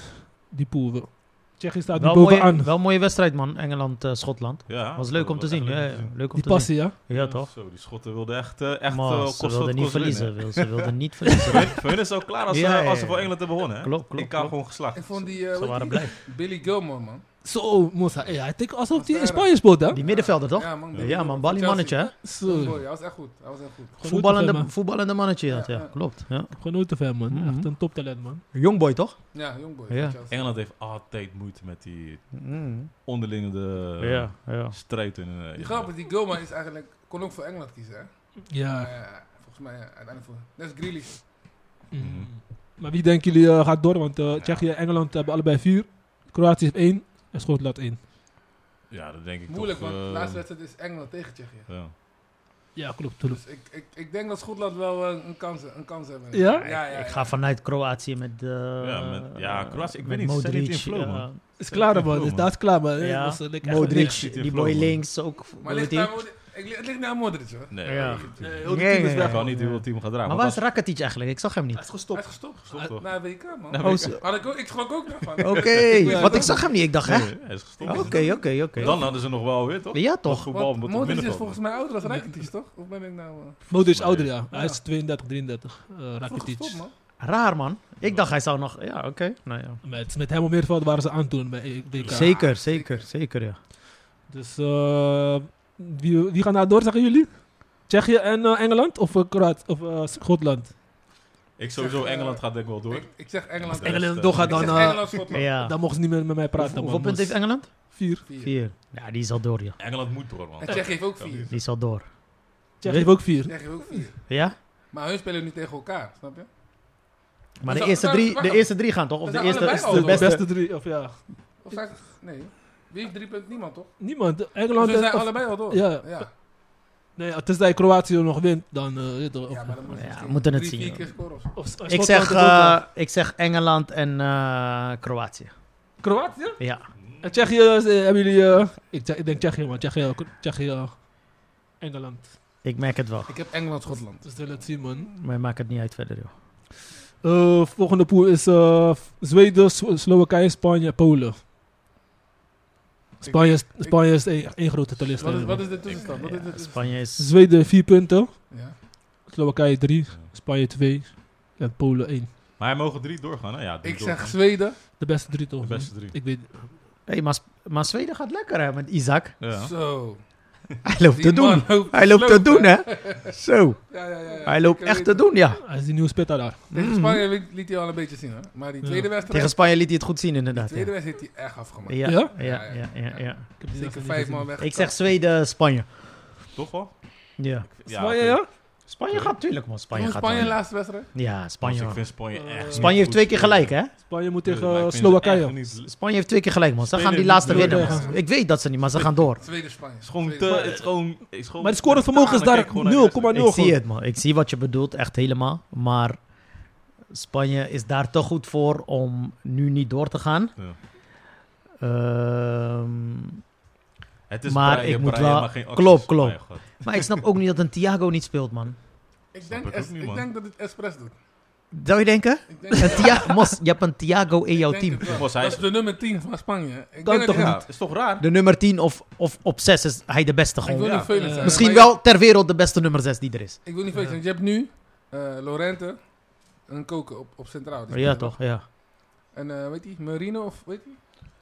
Die poelen we. Tsjechië staat nu Wel mooie, bovenaan. wel mooie wedstrijd, man. Engeland-Schotland. Ja, was leuk om te was zien. echt Ja, leuk om ja, te zien. leuk om Die te zien. passie, ja? Ja, toch? Zo, die Schotten wilden echt, eh, echt Maar eh, kost ze wat wilden niet kost winnen. verliezen. wil- Ze wilden niet verliezen. Voor hun- Voor hun is het al klaar als, ze- Ja, ja, ja. als ze voor Engeland hebben gewonnen. hè? Klopt, klopt, Ik kan klopt. gewoon geslacht. Ik vond die, eh, Ze weet waren je, blij. Billy Gilmore, man. Zo, Moussa. Hey, hij tikt alsof hij in Sterren. Spanje speelt, hè? Die middenvelder, toch? Ja, man. Billy Ja, man. Gilmore. Bali mannetje, hè? Zo. Mooi, hij was echt goed. Hij was echt goed. Voetballende, man. voetballende mannetje, ja. Ja, ja. ja. Klopt, ja. Genoten van hem, man. Mhm. Echt een toptalent, man. Jongboy, toch? Ja, jongboy. Ja. van Chelsea. Engeland heeft altijd moeite met die Mm. onderlinge eh, Ja, ja. strijd. In, eh, Die grap is, die Gilmore is eigenlijk, kon ook voor Engeland kiezen, hè? Ja. Maar ja, volgens mij ja, uiteindelijk voor... Net als Grealish. Mhm. Mm. Maar wie denken jullie eh, gaat door? Want eh, Tsjechië en Engeland hebben allebei vier. Kroatië heeft één. En Schotland één. ja, dat denk ik Moeilijk, toch. want eh, de laatste wedstrijd is Engeland tegen Tsjechië. ja. Ja, klopt. klopt. Dus ik, ik, ik denk dat Schotland wel eh, een, kans, een kans hebben. Ja? Ja, ja, Ik ga vanuit Kroatië met... eh, met- ja, Kroatië, ik met weet niet, ze zijn niet in Modric, flow, ja. man. Is klaar, man. Ja. Is dat klaar, man. Ja. Dat is, eh, lekker echt Modric, niks. Zit in die flow, boy man. links ook. Maar weet ligt je. naar, Modric- ik, het ligt naar Modric, hoor. Nee, Ja. ik- Nee, ik Eh, heel die Nee, team is nee, weg. nee. kan niet hoe het team gaat draaien. Maar waar want is Rakitic eigenlijk? Ik zag hem Hij niet. is Hij is gestopt. gestopt. Gestopt, toch? Naar WK, man. Naar Oh, ze- Had ik, ook, ik schrok ook daarvan. Oké, Ja, want ik toch? zag hem niet. Ik dacht, dat- hè? Nee, hij is gestopt. Oké, oké, oké. Dan hadden ze nog wel weer, toch? Ja, Nog toch? voetbal Want moet op Modric is middenveld. volgens mij ouder dan Rakitic, toch? Of ben ik nou... eh, Modric is Nee. ouder, ja. Hij Ja. is 32, 33. eh vroeg Rakitic. gestopt, man. Raar, man. Ik dacht, hij zou nog... Ja, oké. Nou ja. Met, met hem op middenveld waren ze aan toen bij E- WK. Zeker, zeker, zeker, ja. Dus eh, wie, wie gaan daar door, zeggen jullie? Tsjechië en eh, Engeland of eh, Kroatië of eh, Schotland? Ik sowieso, Zeg, eh, Engeland gaat denk ik wel door. Ik, ik zeg Engeland. Als Engeland Ik Engeland doorgaat, zeg dan, eh, Engeland, Schotland. ja. Dan mogen ze niet meer met mij praten. Hoeveel man. punten heeft Engeland? Vier. Vier. Vier. Ja, die is al door, ja. Engeland moet door, man. En Tsjechië heeft ook vier. Die is al door. Tsjechië heeft ook vier. Tsjechië heeft ook vier. Ja? Maar hun spelen nu tegen elkaar, snap je? Maar de Zo, eerste wacht, drie, wacht. de eerste drie gaan toch? Of We de zijn eerste allebei is al de door. De beste? beste drie, of ja. Of zijn- Nee. Wie heeft drie punten? Niemand, toch? Niemand. Ze Engeland en- zijn of- allebei al door. Ja. Ja, Nee, tenzij Kroatië nog wint, dan... eh, weet je toch, of, Ja, maar dan moet je Ja, misschien we moeten het drie, zien, vier ja. keer scoren of zo. of- of Ik Schotland zeg, is ook, eh, eh, ik zeg Engeland en eh, Kroatië. Kroatië? Ja. En Tsjechië, eh, hebben jullie... eh, ik, zeg- ik denk Tsjechië, man. Tsjechië, Tsjechië eh, Engeland. Ik merk het wel. Ik heb Engeland, Schotland. Dus we zullen het zien, man. Maar maakt het niet uit verder, joh. Eh, volgende pool is eh, Zweden, Slo- Slowakije, Spanje en Polen. Spanje, is- Spanje is één één grote talist. Wat is, wat is de Ja, tussenstand? Wat is de tussenstand? Spanje is... Zweden 4 punten, Ja. Slowakije 3, Spanje 2 en Polen 1. Maar hij mogen drie doorgaan, hè? Ja, drie Ik doorgaan. zeg Zweden. De beste drie toch? De beste drie. Ik weet Hey, maar, Sp- maar Zweden gaat lekker, hè, met Isaac. Ja. Zo. Hij loopt te Die man doen. loopt Hij loopt te slopen. doen, hè. Zo. Ja, ja, ja, ja. Hij loopt Ik echt weet te het. doen, ja. hij is die nieuwe spitter daar. Tegen Spanje liet, liet hij al een beetje zien, hè? Maar die tweede wedstrijd... Tegen Spanje liet hij het goed zien, die inderdaad. Ja, tweede wedstrijd heeft hij echt afgemaakt. ja, ja. Ja? ja, ja, ja, Ik heb die Zeker wedstrijd vijf niet man gezien. weg. Ik zeg Zweden, Spanje. Toch wel? Ja. Spanje, oké. ja? Spanje gaat tuurlijk, man. Spanje Spanje, gaat Spanje wel. laatste wedstrijd? Ja, Dus Spanje, Ik man. vind Spanje Eh, echt. Spanje heeft twee keer gelijk, hè? Spanje moet tegen eh, Slowakije. Het Spanje heeft twee keer gelijk, man. Ze Spelen gaan die niet laatste door. winnen. Ja. man. Ik weet dat ze niet, maar ze gaan door. Tweede Spanje. is gewoon te. Tweede Het is gewoon, het is gewoon Maar het scorevermogen is Ja, dan daar kijk 0,0. ik gewoon naar de rest. Ik zie gewoon. het, man. Ik zie wat je bedoelt, echt helemaal. Maar Spanje is daar te goed voor om nu niet door te gaan. Ja. Ehm, Het is Maar breien, ik moet breien, wel- maar geen acties. Klopt, klopt. Oh mijn god. maar ik snap ook niet dat een Thiago niet speelt, man. Ik Snap denk, ik ook es- niet, ik man. denk dat het expres doet. Zou je denken? Ik denk, Een Thia- Mos, je hebt een Thiago in jouw ik denk team. het wel. Mos, hij Dat is is- de nummer 10 van Spanje. Ik Kan denk toch dat, Ja, is toch raar? De nummer 10 of, of op 6 is hij de beste Ik gewoon. Eh, wil Ja. niet veel zijn. Misschien maar wel ter wereld de beste nummer 6 die er is. je- Ik wil niet veel zijn. Je hebt nu eh Lorente en Koken op, op Centraal. Die Ja, spelen. toch? Ja. En eh, weet je, Marino of weet je?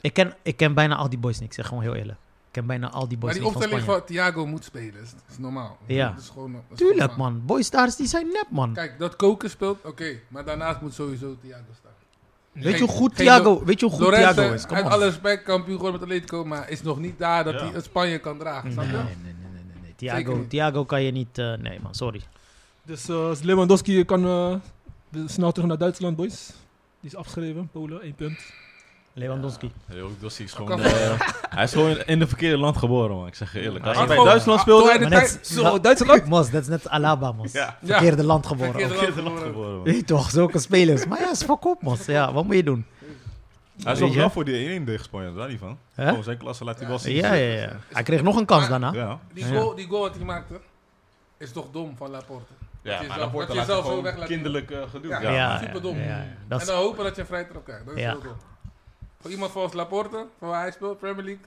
Ik ken, ik ken bijna al die boys niet, ik zeg gewoon heel eerlijk. Ik ken bijna al die Maar boys die niet van opstelling Spanje. van Thiago moet spelen. is, is normaal. Ja. Dat is gewoon, dat is Tuurlijk, gewoon man. Boystars die zijn nep, man. normaal. Kijk, dat Koken speelt, oké. maar daarnaast moet sowieso Thiago staan. Weet je hoe goed geen Thiago, weet je hoe goed Lorente, Thiago is? Kom uit op. alle respect, kampioen geworden met Atletico, maar is nog niet daar dat Ja. hij het Spanje kan dragen. Nee, Snap nee, je? nee, nee, nee, nee, nee. Thiago, Zeker niet. Thiago kan je niet... eh, nee, man, sorry. Dus eh, Lewandowski kan eh, de- snel terug naar Duitsland, boys. Die is afgeschreven, Polen, 1 punt. Lewandowski. Lewandowski is Kan gewoon. eh, hij is gewoon in de verkeerde land geboren, man. Ik zeg je eerlijk. Maar Als hij hij bij gewoon- Duitsland ah, speelde. toen hij de Maar tijd- net, Zo, dat- Duitsland? Mos, dat is net Alaba, Mos. Ja. Verkeerde land geboren. Verkeerde- verkeerde land geboren, man. Weet je toch, zulke spelers. Maar ja, is verkoop, Mos. Ja, wat moet je doen? Hij is Weet nog je? wel voor die 1-1 tegen Spanje, daar niet van. Hè? Oh, zijn klasse laat hij wel zien. Ja, ja, ja. Hij kreeg nog een kans daarna. Ja, Die, Ja. goal, die goal wat hij maakte, is toch dom van Laporte. ja je maar zelf- dan wordt dat er je zelf zo later weg gewoon laat kinderlijk eh, gedoe. Ja. Ja. superdom. ja, ja. Dat en is- dan hopen dat je een vrije trap krijgt. Dat is Ja. heel dom. Voor iemand zoals Laporte, van waar hij speelt, Premier League,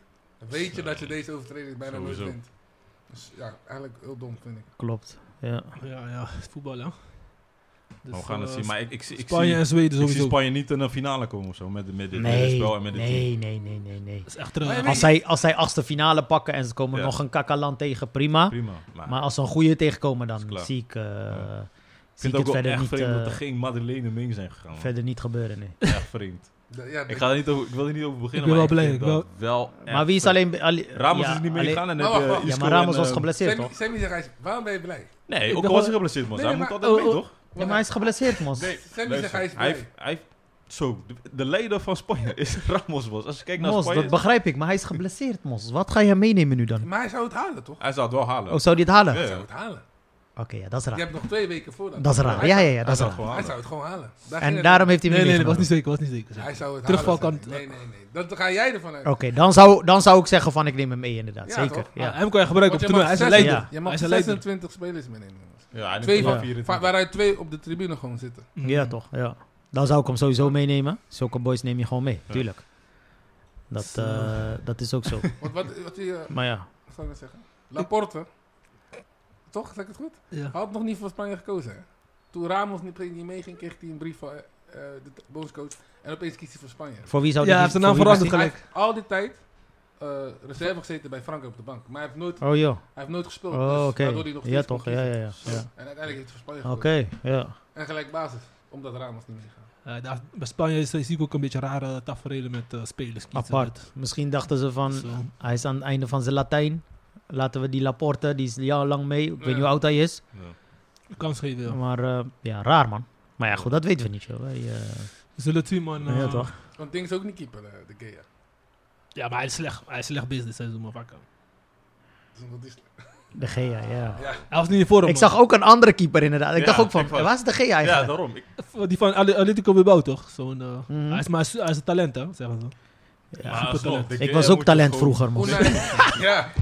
weet je Zo. dat je deze overtreding bijna nooit Sowieso. vindt. Dus ja, eigenlijk heel dom vind ik. Klopt. Ja. Ja, ja, het voetbal, hè. Dus, Maar we gaan het eh, zien. Maar ik, ik, zie- ik, Spanje zie, en Zweden ik zie sowieso. Spanje niet in de finale komen of zo. Met, met dit Nee, spel en met dit team. nee, nee, nee, nee, nee. Dat is echt eh, Maar je Als zij, als zij achtste finale pakken en ze komen Ja. nog een kakalan tegen, prima. Prima. Maar, Maar als ze een goede tegenkomen, Is dan klaar. zie ik, eh, Ja. ik zie vind het ook ik het wel verder echt niet, vreemd dat eh, er geen Madeleine mee zijn gegaan. man. verder niet gebeuren. Nee. Echt vreemd. De- ja, Ik, de- ga er niet over, ik wil er niet over beginnen. ben maar wel blij, vind ik dat wel Maar echt wie is vreemd. alleen... alle- Ramos ja, is niet alleen- meegegaan en Maar heb je wacht, wacht. Ja, Isco maar Ramos en, was eh, geblesseerd, Sammy, toch? Sammy zegt, hij is- waarom ben je blij? Nee, Ik ook dacht al was wel- hij geblesseerd, man. Nee, Hij nee, moet maar- altijd mee, oh, oh. toch? Ja, maar hij is geblesseerd, man. Nee, Sammy zegt, Luister, hij is hij heeft, blij. hij heeft- zo, de, de leider van Spanje is Ramos was. Als je kijkt naar Mos, Spanje, dat begrijp ik, maar hij is geblesseerd, Mos. Wat ga je meenemen nu dan? Maar hij zou het halen, toch? hij zou het wel halen. Oh, zou hij het halen? Ja. Hij zou het halen. Oké, ja, dat is Je raar. hebt nog twee weken voor dat. Dat is raar. Ja, ja, ja, hij dat is zou het raar. gewoon Hij zou halen. het gewoon halen. Daar ging En het daarom om. heeft hij Nee, hem nee, niet nee, dat was niet meegenomen. zeker, was niet zeker. Hij zou het Terugval halen. kan- Nee, nee, nee. Dat ga jij ervan uit. Oké, dan, zou, dan zou ik zeggen van ik neem hem mee inderdaad. Ja, Zeker. toch? Ja. Ah, hem kan je gebruiken op Want het je toernooi. mag Hij is een zes- leider. leider. Je Hij mag is een leider. 26 spelers meenemen. Ja, hij Twee neemt wel van- 24. Va- Waaruit twee op de tribune gewoon zitten. Ja, toch? Ja. Dan zou ik hem sowieso meenemen. Zulke boys neem je gewoon mee, Ja. tuurlijk. Dat, eh, dat is ook zo. Want wat, wat die, eh, maar ja, wat zou ik nou zeggen? Laporte. Toch, zeg ik het goed? Mm, Ja. Hij had nog niet voor Spanje gekozen. Hè? Toen Ramos niet, niet meeging, kreeg hij een brief van eh, eh, de t- bondscoach. En opeens kiest hij voor Spanje. Dus voor wie zou Ja, die... hij heeft zijn voor naam wie veranderd. was Hij Gelijk. heeft al die tijd eh, reserve gezeten bij Frankrijk op de bank. Maar hij heeft nooit, die- Oh joh. hij heeft nooit gespeeld. Oh, dus oké. waardoor hij nog Ja, steeds kon toch? Ja, ja, ja. kiezen. ja. En uiteindelijk heeft hij voor Spanje Oké, gekozen. ja. En gelijk basis, omdat Ramos niet meegaat. Ja, Eh, daar, bij Spanje is- zie ik ook een beetje rare tafereelen met eh, spelers. kiezen. Dus, eh, Apart. Misschien dachten ze van, Zo. hij is aan het einde van zijn Latijn. Laten we die Laporte, die is jarenlang mee. Ik weet Ja. niet hoe oud hij is. Ja. Kans geven, ja. Maar eh, ja, raar man. Maar ja, goed, dat weten we niet. Joh. Wij, eh, We zullen het zien, man. eh. ja, toch? Want Ding is ook niet keeper, eh, de Gea. Ja, maar hij is slecht. Hij is slecht business, hij doet maar vakken. Dus dat is, De Gea, ja. ja. Hij was niet in vorm. Ik man. zag ook een andere keeper inderdaad. Ik Ja, dacht ook van, ik was- waar is De Gea Ja, eigenlijk? daarom. Ik, Die van Atl- Atletico Bilbao, toch? Zo'n, eh, Mhm. hij, is, maar, hij is een talent, hè? Zeggen ze. Ja. maar alsnog, talent. de Ik Gea was ook moet je talent gewoon- vroeger, man. Unai. ja.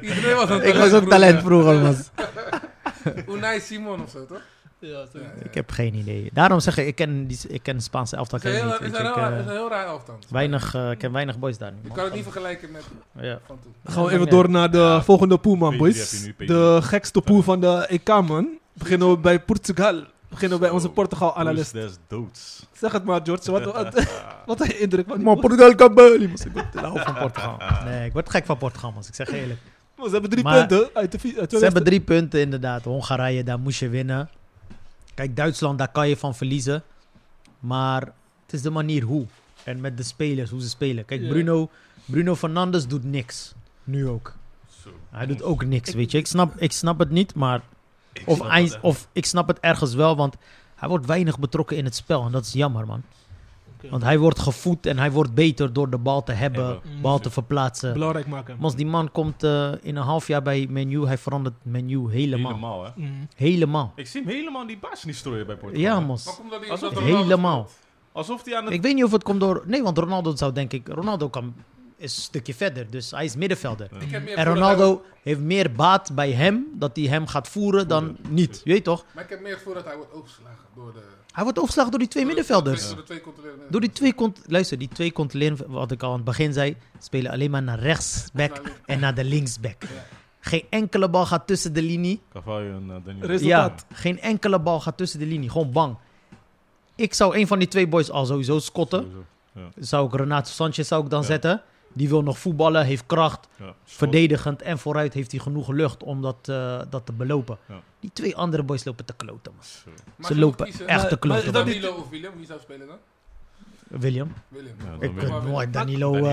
Iedereen was een Ik was ook talent vroeger. vroeger, man. Unai Simon of zo, toch? Ja, zo. Ja, ja. Ik heb geen idee. Daarom zeg ik, ik ken, die, ik ken Spaanse elftal Het is ken ik een heel- niet. het is weet een je, heel raar- het ik, eh, is een heel raar elftal. weinig, eh, ik ken weinig boys daar nu. Je man. kan het niet vergelijken met Ja. van toen. Dan gaan we Ja, even nee. door naar de Ja. volgende pool, man, P3 heb boys. je nu, P3. De gekste pool van de EK, man. Beginnen we bij Portugal. Beginnen we bij onze Zo, Portugal-analyst. Poes des doods. Ah, Zeg het maar, George. Wat, wat, wat een indruk van die Maar man. Portugal kan bij jullie, man. Ik word- ik hou van Portugal. Nee, ik word gek van Portugal, man. Dus Ik zeg je eerlijk. Ze hebben drie Maar- punten uit de vi- uit Ze de hebben drie punten inderdaad. Hongarije, daar moest je winnen. Kijk, Duitsland, daar kan je van verliezen. Maar het is de manier hoe. En met de spelers, hoe ze spelen. Kijk, Ja. Bruno, Bruno Fernandes doet niks. Nu ook. Zo. Hij doet ook niks, weet je. Ik snap, ik snap het niet, maar... Ik Of, snap eind- het echt. of ik snap het ergens wel, want hij wordt weinig betrokken in het spel. En dat is jammer, man. Oké. Want hij wordt gevoed en hij wordt beter door de bal te hebben, Hebben. bal te verplaatsen. Belangrijk maken. Mans, die man komt eh, in een half jaar bij Menu. Hij verandert Menu helemaal. Helemaal, hè. Mm. Helemaal. Ik zie hem helemaal die baas niet strooien bij Portugal. Ja, hè. Maar Mos. komt dat niet Alsof omdat hij Ronaldo helemaal. speelt? Alsof hij aan het... Ik weet niet of het komt door... Nee, want Ronaldo zou denk ik... Ronaldo kan, is een stukje verder, dus hij is middenvelder. Ik heb meer En gevoel dat hij- Ronaldo heeft meer baat bij hem dat hij hem gaat voeren dan niet. Je weet toch? Maar ik heb meer gevoel dat hij wordt overgeslagen door de... Hij wordt overslagen door die twee door de- middenvelders. Door de twee controlerende. Door die twee kont, luister, die twee controleren, wat ik al aan het begin zei, spelen alleen maar naar rechtsback Naar links. en naar de linksback. Geen enkele bal gaat tussen de linie. Carvalho en eh, Danilo. Rust- Resultaat. Ja, geen enkele bal gaat tussen de linie. Gewoon bang. Ik zou een van die twee boys al sowieso scotten. Sowieso. Zou ik Renato Sanchez zou ik dan Ja. zetten. Die wil nog voetballen, heeft kracht. Ja. Schot. Verdedigend en vooruit heeft hij genoeg lucht om dat, eh, dat te belopen. Ja. Die twee andere boys lopen te kloten, man. Zo. Maar Ze als je moet lopen kiezen, echt te Maar- maar is kloten, dat man. Danilo of Willem, wie zou spelen dan? William. Willem. Ja, dan Kom Ik Willem. maar, kan Willem. nooit Danilo... Danilo,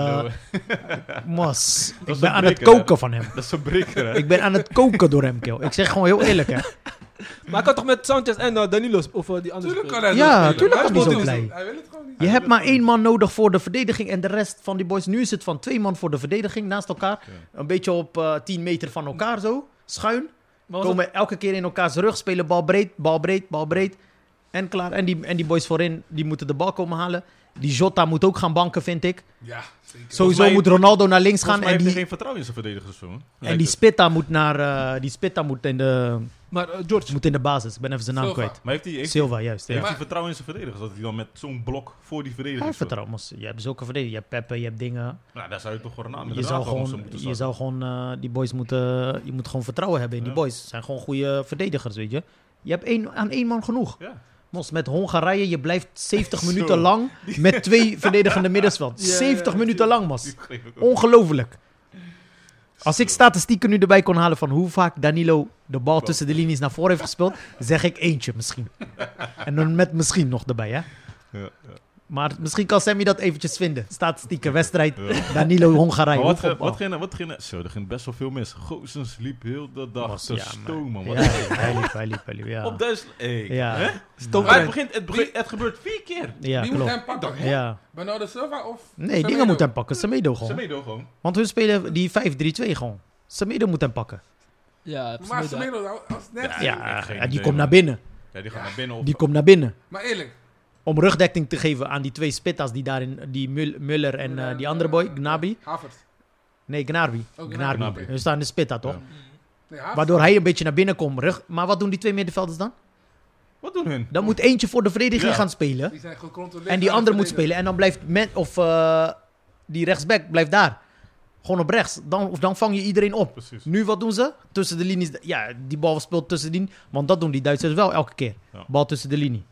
eh, Mos, ik is ben een aan het breker, hè? koken van hem. Dat is een breker, hè. Ik ben aan het koken door hem, Kil. Ik zeg gewoon heel eerlijk, hè. Maar ik kan toch met Sanchez en eh, Danilo sp- of eh, die andere Tuurlijk kan spelen? hij Ja, zo spelen. tuurlijk Hij kan hij wil het zo blij. niet. Hij wil het gewoon niet. Je hebt maar één man nodig voor de verdediging en de rest van die boys. Nu is het van twee man voor de verdediging naast elkaar. Een beetje op eh 10 meter van elkaar zo, schuin. Maar was Komen elke keer in elkaars rug, spelen bal breed, bal breed, bal breed. En klaar. En die, en die boys voorin, die moeten de bal komen halen. Die Jota moet ook gaan banken, vind ik. Ja, zeker. Sowieso mij- moet Ronaldo naar links Volgens gaan. mij heeft En hij die, geen vertrouwen in zijn verdedigers of zo. hè. en Lijkt die het. Spitta moet naar... eh, die Spitta moet in de... het- Maar eh, George, Moet in de basis. Ik ben even zijn naam Silva. kwijt. Maar heeft hij heeft, Silva, juist. heeft ja. hij vertrouwen in zijn verdedigers? Dat hij dan met zo'n blok voor die Hij verdediging staat? vertrouwt ons. Je hebt zulke verdedigers. Je hebt Peppe, je hebt dingen. Nou, daar zou je toch gewoon aan Je zou gewoon, je zou gewoon eh, die boys moeten... Je moet gewoon vertrouwen hebben in die Ja. boys. Het zijn gewoon goede verdedigers, weet je. Je hebt één, aan één man genoeg. Ja. Mos, met Hongarije, je blijft 70 Zo. minuten lang met twee verdedigende middensveld. Ja, ja, 70 ja. minuten lang, Die Mos. geef ik ook. Ongelooflijk. Als ik Zo. statistieken nu erbij kon halen van hoe vaak Danilo de bal Klopt. tussen de linies naar voren heeft gespeeld, zeg ik eentje misschien. En dan met misschien nog erbij, hè. Ja, ja. Maar misschien kan Sammy dat eventjes vinden. Statistieken, wedstrijd, Ja. Danilo Hongarije. Maar wat, hoeveel ge- wat, bal? ging, er- wat ging er- Zo, er ging best wel veel mis. Goossens liep heel de dag Was- te ja, maar- stomen. Ja, Wat- hij liep, hij liep, hij liep, ja. Op Duitsland. Hey. Ja. Hè? Stoker- Maar het, begint, het, begint, het gebeurt vier keer. Ja, Wie moet klopt. hem pakken? hè? Ja. Bernardo Silva nou, of... Nee, Semedo? dingen moet hem pakken. Semedo gewoon. Semedo gewoon. Want hun spelen die 5-3-2 gewoon. Semedo moet hem pakken. ja, Maar Semedo. Semedo, als net... Ja, ik heb Ja, geen en die idee, komt naar man. binnen. Ja, die gaan naar binnen op. Die komt naar binnen. Maar eerlijk, Om rugdekking te geven aan die twee spittas die daarin... Die Mul- Muller en eh, die andere boy, Gnabi. Havertz. Nee, Dus Gnarbi. Oh, Gnarbi. Gnabry. Hun staan in de spitta, toch? Ja. Nee, Havertz. Waardoor hij een beetje naar binnen komt. Rug... Maar wat doen die twee middenvelders dan? Wat doen hun? Dan moet eentje voor de verdediging Ja. gaan spelen. Die zijn gecontroleerd. En die door de andere moet verdedigers. spelen. En dan blijft men, of eh, die rechtsback blijft daar. Gewoon op rechts. Dan, of dan vang je iedereen op. Precies. Nu wat doen ze? Tussen de linies. Ja, die bal speelt tussen de linies. Want dat doen die Duitsers wel elke keer. Ja. Bal tussen de linie.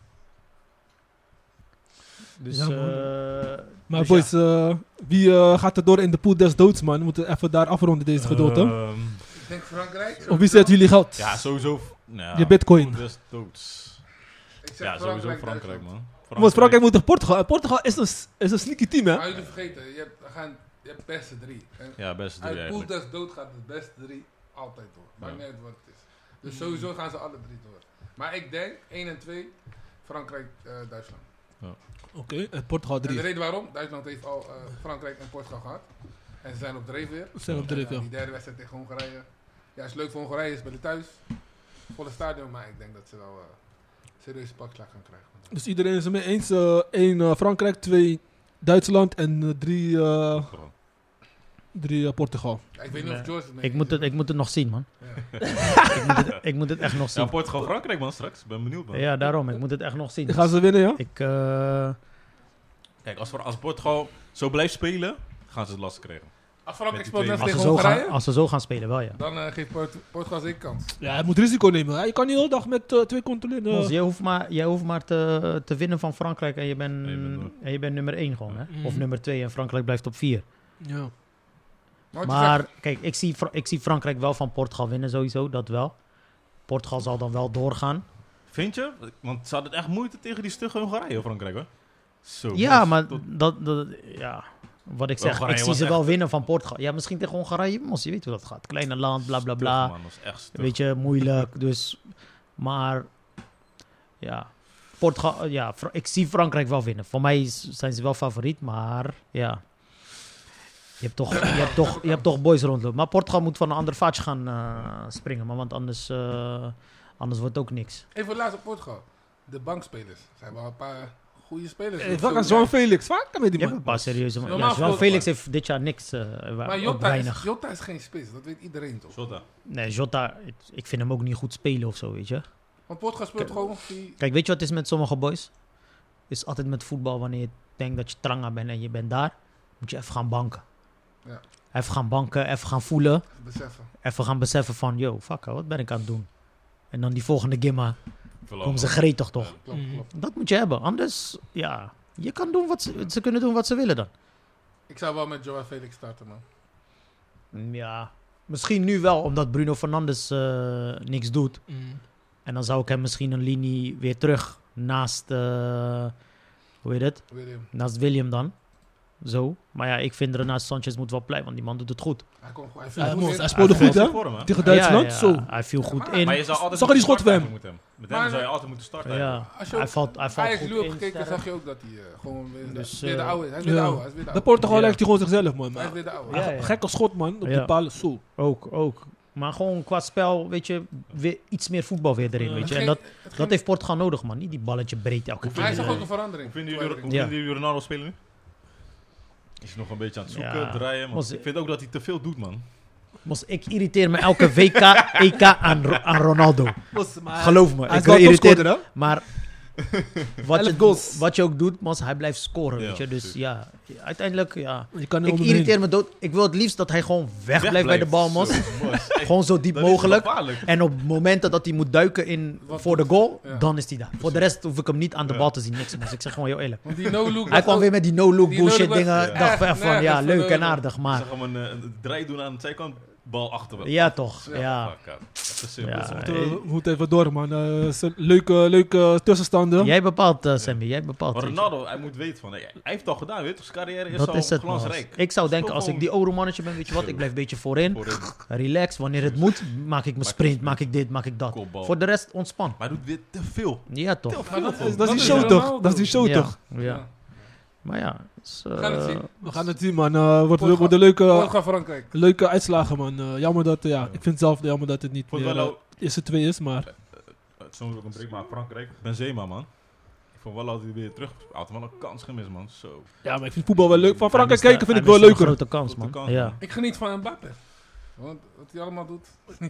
Dus, Ja, man. eh, Maar dus boys, eh, wie eh, gaat er door in de poel des doods, man? We moeten even daar afronden Eh, deze gedoe, toch? Ehm, Ik denk Frankrijk. Op wie zetten jullie geld? ja, sowieso. f- Nou, Je bitcoin. Des doods. Ik zeg Ja, sowieso Frankrijk, Duitsland. man. Want Frankrijk moet tegen Portugal. En Portugal is een, s- is een sneaky team, hè? Maar jullie vergeten, je hebt, gaan, je hebt beste drie. En Ja, best doe je uit pool eigenlijk. des dood gaat de beste drie altijd door. Maakt Ja. niet uit wat het is. Dus sowieso gaan ze alle drie door. Maar ik denk 1 en 2, Frankrijk, eh, Duitsland. Oké, en Portugal En de 3. reden waarom, Duitsland heeft al eh, Frankrijk en Portugal gehad. En ze zijn op dreef weer. Ze zijn op de En, rip, eh, ja. Die derde wedstrijd tegen Hongarije. Ja, is leuk voor Hongarije, spelen thuis. Volle stadion, maar ik denk dat ze wel eh, serieuze pakslag gaan krijgen. Dus iedereen is het mee eens. 1 één eh, Frankrijk, 2 Duitsland en 3 drie, eh, drie eh, Portugal. Ja, ik weet niet of Nee. George het mee Ik eens moet, is. het, ik moet het nog zien, man. Ja. ik, moet het, ik moet het echt nog Ja, zien. Portugal, Frankrijk, man, straks. Ben benieuwd, man. Ja, daarom. Ik moet het echt nog zien. Gaan ze winnen, ja? Ik, eh, Kijk, als, als Portugal zo blijft spelen, gaan ze het lastig krijgen. Als Frankrijk Met die speelt twee net als, ze tegen zo Hongarije, gaan, als ze zo gaan spelen, wel ja. dan eh, geeft Port- Portugal zeker kans. Ja, hij moet risico nemen. Hè? Je kan niet de hele dag met eh, twee controleren. Mons, jij hoeft maar, jij hoeft maar te, te winnen van Frankrijk en je bent, En je bent door. en je bent nummer 1 gewoon. Hè? Mhm. Of nummer 2 en Frankrijk blijft op 4. ja. Maar, Maar kijk, ik zie, Fra- ik zie Frankrijk wel van Portugal winnen sowieso, dat wel. Portugal zal dan wel doorgaan. Vind je? Want ze hadden echt moeite tegen die stugge Hongarije, Frankrijk, hoor. Zo. Ja, dus maar tot- dat, dat, ja, wat ik zeg, Hongarije ik zie was ze echt- wel winnen van Portugal. Ja, misschien tegen Hongarije, mos, je weet hoe dat gaat. Kleine land, bla bla stug, bla. man, dat is echt stug. Weet je, moeilijk. Dus, maar ja, Portugal, ja, Fra- ik zie Frankrijk wel winnen. Voor mij is- zijn ze wel favoriet, maar ja. Je hebt, toch, je, hebt toch, je hebt toch boys rondlopen. Maar Portugal moet van een ander vaatje gaan eh, springen. Maar want anders, eh, anders wordt het ook niks. Even laatst op Portugal. De bankspelers. Er zijn wel een paar goede spelers. Hey, Zo- wat kan Eh, João Felix? Waar kan met Je die hebt man? een paar serieuze... Ja, Normaal João gesproken- Felix heeft dit jaar niks. eh, wa- Maar ook Jota weinig. is, Jota is geen spits, dat weet iedereen toch? Zotta. Nee, Jota, ik, ik vind hem ook niet goed spelen of zo, weet je. Want Portugal speelt Ke- gewoon die... Kijk, weet je wat het is met sommige boys? Is altijd met voetbal wanneer je denkt dat je tranga bent en je bent daar, moet je even gaan banken. Ja. Even gaan banken, even gaan voelen, beseffen. even gaan beseffen van, yo, fuck, wat ben ik aan het doen? En dan die volgende gimma, Verloren. komen ze gretig toch? Klopt, Mhm. klopt. Dat moet je hebben, anders, ja, je kan doen wat ze, ze kunnen doen wat ze willen dan. Ik zou wel met Joao Felix starten, man. Mm, Ja, misschien nu wel, omdat Bruno Fernandes eh, niks doet. Mm. En dan zou ik hem misschien een linie weer terug naast, eh, hoe heet het? William. Naast William dan. Zo. Maar ja, ik vind naast Sanchez moet wel blij, want die man doet het goed. Hij kon gewoon... Hij viel Ja, hij goed moest- in. hij speelde Ah, goed, hè? Vorm, hè? Tegen Duitsland? Ja, ja, Zo. Hij viel goed Maar- in. Maar je zou altijd Zag je die schot moeten van hem? starten eigenlijk Met hem, met Maar- hem zou je altijd moeten starten. ja. Als je Hij ook- valt, hij valt Ajax goed nu hebt in. gekeken, sterk. zag je ook dat hij eh, gewoon weer, Dus, weer de eh, oude is. Hij is weer ja. de oude. Hij is weer de De oude. Portugal Ja. lijkt hij gewoon zichzelf, man. Hij is Maar, weer de oude. Ja, ja. Gekke schot, man. Op Ja. die palen. Zo. Ook, ook. Maar gewoon qua spel, weet je, weer iets meer voetbal weer erin, Ja. weet Het je. En ging- dat, het ging- dat heeft Portugal nodig, man. Niet die balletje breed elke Hoe Maar hij zag ook keer. een verandering. Hoe vinden jullie, hoe Ja. vinden jullie Ronaldo spelen nu? Is hij nog een beetje aan het zoeken, Ja. draaien? man? Was- ik vind ook dat hij te veel doet, man. Mos, ik irriteer me elke WK, EK aan, Ro- aan Ronaldo. Geloof me, Hij is ik wel irriteer topscorer, hè? Maar wat, Elf je, goals. wat je ook doet, Mos, hij blijft scoren. Ja, weet je? Dus precies. ja, uiteindelijk, ja. Je kan er Ik omheen. irriteer me dood. Ik wil het liefst dat hij gewoon weg blijft bij de bal, Mos. Gewoon Gewoon zo diep mogelijk. En op momenten dat hij moet duiken in, Wat voor de doet- goal, ja. dan is hij daar. Voor de rest hoef ik hem niet aan de Ja. bal te zien. Niks, Mos. Ik zeg gewoon heel eerlijk. Want die no-look... Hij kwam weer met die no-look Die no-look bullshit was dingen. Ik echt dacht echt van, ja, nergens voor leuk en nodig. aardig, maar... Zeg hem een, eh, een draai doen aan de zijkant, bal achter. Ja, toch. Ja. Ja. Ja. Ja. We moeten- Eh, we moeten even door, man. Eh, het zijn leuke, leuke tussenstanden. Jij bepaalt, eh, Sammy. Jij bepaalt. weet je. Ronaldo, hij moet weten van, hey, hij heeft het al gedaan, weet je, toch? zijn carrière is Dat al is het, man. glansrijk. Ik zou denken, als ik gewoon- die Oro-mannetje ben, weet je wat? Ik blijf een beetje voorin. Voor een Relax. Wanneer het moet, maak ik mijn sprint, maak ik dit, maak ik dat. kopbal. Voor de rest, ontspan. Maar hij doet weer te veel. Ja, Te toch? veel. dat gewoon. is- Dat is die show, helemaal toch? dood. Dat is die show, ja. toch? Ja. Maar ja, dus, eh, We gaan het zien. We gaan het zien, man. Eh wordt Portugal- worden leuke... Portugal, Frankrijk. Leuke uitslagen, man. Eh, jammer dat, eh, ja, ik vind zelf jammer dat het niet Vond meer wel eh, ook- de eerste twee is, maar Het Eh, soms ook een break, maar Frankrijk. Benzema, man. Ik vond wel dat hij weer terug... Hij had wel een kans gemist, man. Zo. ja, maar ik vind voetbal wel leuk. Van Frankrijk hij kijken mist- vind ik hij wel mist leuker. Een grote kans, Grote man. kans, Ja. man. Ik geniet van Mbappé. Want wat hij allemaal doet...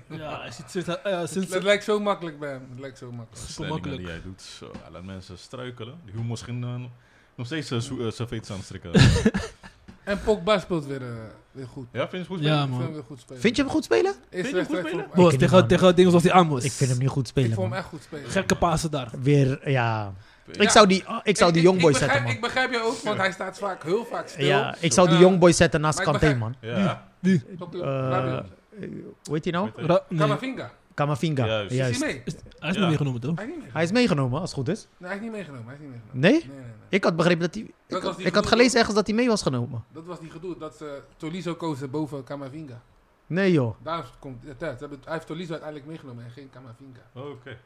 Ja, sinds, sinds, eh, Dus- sinds Het lijkt zo makkelijk bij hem. Het lijkt zo makkelijk. Super makkelijk. die hij doet. Zo. Hij laat mensen struikelen. Die moet misschien eh, nog steeds eh, zo- eh, zijn veets aan het strikken. En Pogba speelt weer, eh, weer goed. ja, vind je het goed? Ja, spelen? Ik vind man. hem weer goed spelen. Vind je hem goed spelen? Eerste Vind je hem goed wedstrijd spelen? vond- Bos, Ik tegen, niet, tegen dingen zoals die aan moest. Ik vind hem niet goed Ik spelen, vond hem man. echt goed spelen. Gekke pasen daar. Weer, ja. Ja. Ik zou die, ah, ik zou die ik jongboy begrijp- zetten, man. Ik begrijp je ook, want hij staat vaak heel vaak stil. Ja, ik zou die Eh, jongboy zetten naast maar ik Kanté, begrijp- man. Ja. Klopt, Eh, Rabiot. Hoe heet hij nou? Weet je- Ra- nee, Camavinga. Kamavinga. Juist. Is Juist. hij mee? Hij is Ja. niet meegenomen, toch? Hij is niet meegenomen. Hij is meegenomen, als het goed is. Nee, hij is niet meegenomen. Hij is niet meegenomen. Nee? Nee, nee, nee. Ik had begrepen dat hij... Dat Ik, was had- die ik had gedoe. gelezen ergens dat hij mee was genomen. Dat was niet gedoe. Dat ze Tolizo kozen boven Camavinga. Nee, joh. Daar komt het uit. Ze hebben- Hij heeft Tolizo uiteindelijk meegenomen en geen Camavinga. Oh, Nou, Oké.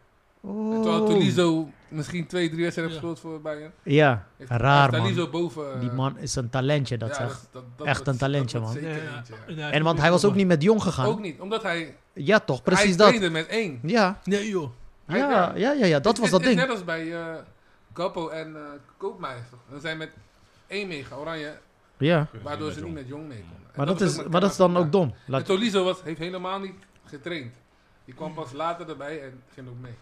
Oh. En Terwijl Tolizo misschien twee, drie wedstrijden heeft gespeeld voor Bayern. Oh. Ja, Heeft- raar, heeft Tolizo man. boven... eh, Die man is een talentje, dat ja, zeg. dat- dat Echt wordt- een talentje, dat wordt Nee, zeker ja, eentje, ja. nee, hij En want is hij was ook meegenomen. niet met Jong gegaan. Ook niet, omdat hij... Ja, toch? hij Precies dat. trainde met één. Ja, Nee, joh. Hij- ja, ja, ja, ja. Dat Het was is- dat het is ding. net als bij eh, Gappo en eh Koopmeijer. Dan zijn met één meegaan, Oranje, Ja, waardoor ze niet met Jong mee konden. En maar dat was ook is, met maar dat is dan ook Camavinga. dom. En Laat- Tolizo was, heeft helemaal niet getraind. Die kwam pas later erbij en ging ook mee.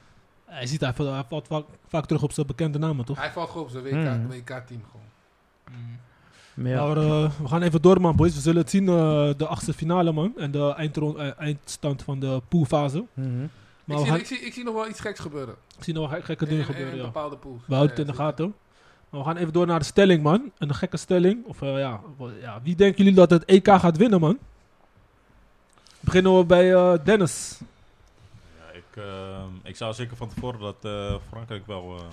Hij ziet, hij valt, hij valt vaak, vaak terug op zijn bekende namen, toch? Hij valt gewoon op zijn Hmm. WK WK-team gewoon. Mm. Ja. Maar eh, we gaan even door, man, boys. We zullen het zien, eh, de achtste finale, man. En de eindron- eh, eindstand van de poolfase. Mhm. Maar ik, we zie, gaan ik, zie, ik zie nog wel iets geks gebeuren. ik zie nog wel gek- gekke dingen In- in- gebeuren, in ja. bepaalde pools. Eh, We houden Ja, het in de zeker. gaten. Maar we gaan even door naar de stelling, man. Een gekke stelling. Of eh, ja, w- ja, wie denken jullie dat het EK gaat winnen, man? Beginnen we bij eh, Dennis. Ja, ik, ehm, ik zou zeker van tevoren dat eh, Frankrijk wel eh,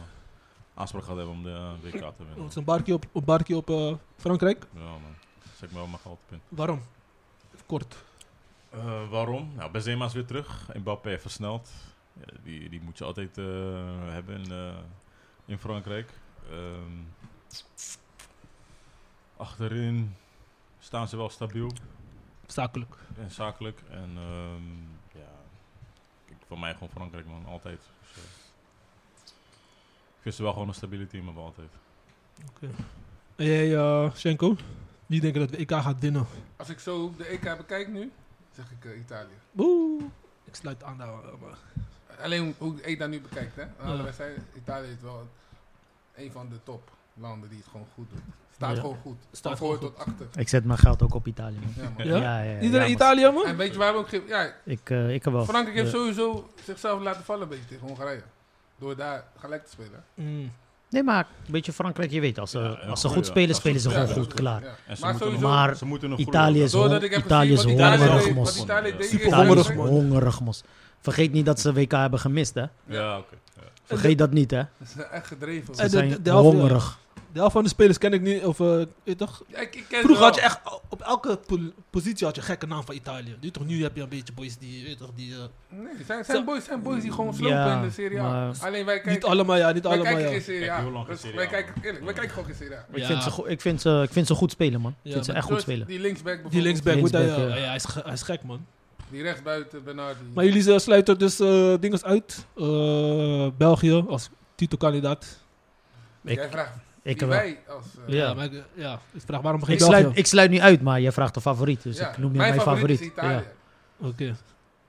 aanspraak gaat hebben om de eh, WK te Oh, Het winnen. is een barkie op, een barkie op eh, Frankrijk. Ja, man. Dat is ik wel mijn gouden punt. Waarom? Kort. Eh, waarom? Nou, Benzema is weer terug. Mbappé heeft versneld. Ja, die, die moet je altijd eh, hebben in, eh, in Frankrijk. Ehm, achterin staan ze wel stabiel Zakelijk. en zakelijk. En ehm, ja, ik, voor mij gewoon Frankrijk, man. Altijd. Dus, eh, ik vind ze wel gewoon een stabiele team hebben, altijd. En jij, eh, Schenko? Wie denken dat de EK gaat winnen? Als ik zo de EK bekijk nu, zeg ik eh, Italië. Boe. Ik sluit aan daar. eh, maar- Alleen hoe ik daar nu bekijkt, hè? Alle Ja. wedstrijden, Italië is wel een van de toplanden die het gewoon goed doet. Staat Ja. gewoon goed. Staat Van voor gewoon tot achter. Ik zet mijn geld ook op Italië. man. Ja, man. Ja? Ja, ja, ja, Iedereen ja, Italië, man? En weet je waarom ook geen- Ja, maar Ik, eh, ik heb wel. Frankrijk heeft Ja. sowieso zichzelf laten vallen een beetje tegen Hongarije. Door daar gelijk te spelen. Mm. Nee, maar een beetje Frankrijk, je weet, als ze, Ja, heel als ze goed, goed ja. spelen, Als ze spelen ze goed gewoon spelen, goed, klaar. Ja. En ze, Maar moeten nog, sowieso, Maar ze moeten nog Italië is, groeien. doordat ik heb hon- Italië is gezien wat Italië hongerig, deed, wat mos. Italië deed, Super is- Italië is Hongerig, man. hongerig, mos. Vergeet niet dat ze WK hebben gemist, hè. Ja, oké. Ja. Vergeet dat niet, hè. Ze zijn echt gedreven. En Ze de- de- zijn de helft- hongerig. De helft van de spelers ken ik niet. Of, eh, weet je toch? Ja, ik, ik ken ze Vroeger had je wel. echt, op elke po- positie had je gekke naam van Italië. Nu, toch, nu heb je een beetje boys die, weet toch, die eh, Nee, zijn, zijn, boys, zijn boys die gewoon slopen Ja, in de Serie A. maar- Alleen wij kijken... niet allemaal ja, niet wij allemaal kijken ja. geen Serie Kijk, A. heel lang geen Dus Serie Wij A, kijken, man. eerlijk, wij kijken gewoon geen Serie A. Ik Ja. vind, ze go- ik, vind ze, ik vind ze goed spelen, man. Ik Ja, vind ze maar echt goed Zoals spelen. Die linksback Die bijvoorbeeld. linksback, moet hij, Linksback, eh, ja. ja, hij, is, ge- hij is gek man. Die rechtsbuiten, Bernardi. Maar jullie eh, sluiten dus eh dingen uit. Eh, België als titelkandidaat. Ik- Jij vraagt Ik Wie heb wel. wij als... eh, Ja. Ja, maar ik, ja, ik vraag waarom geen Ik België? sluit, ik sluit niet uit, maar je vraagt een favoriet. Dus ja, ik noem je mijn favoriet. is Ja. Italië. Oké.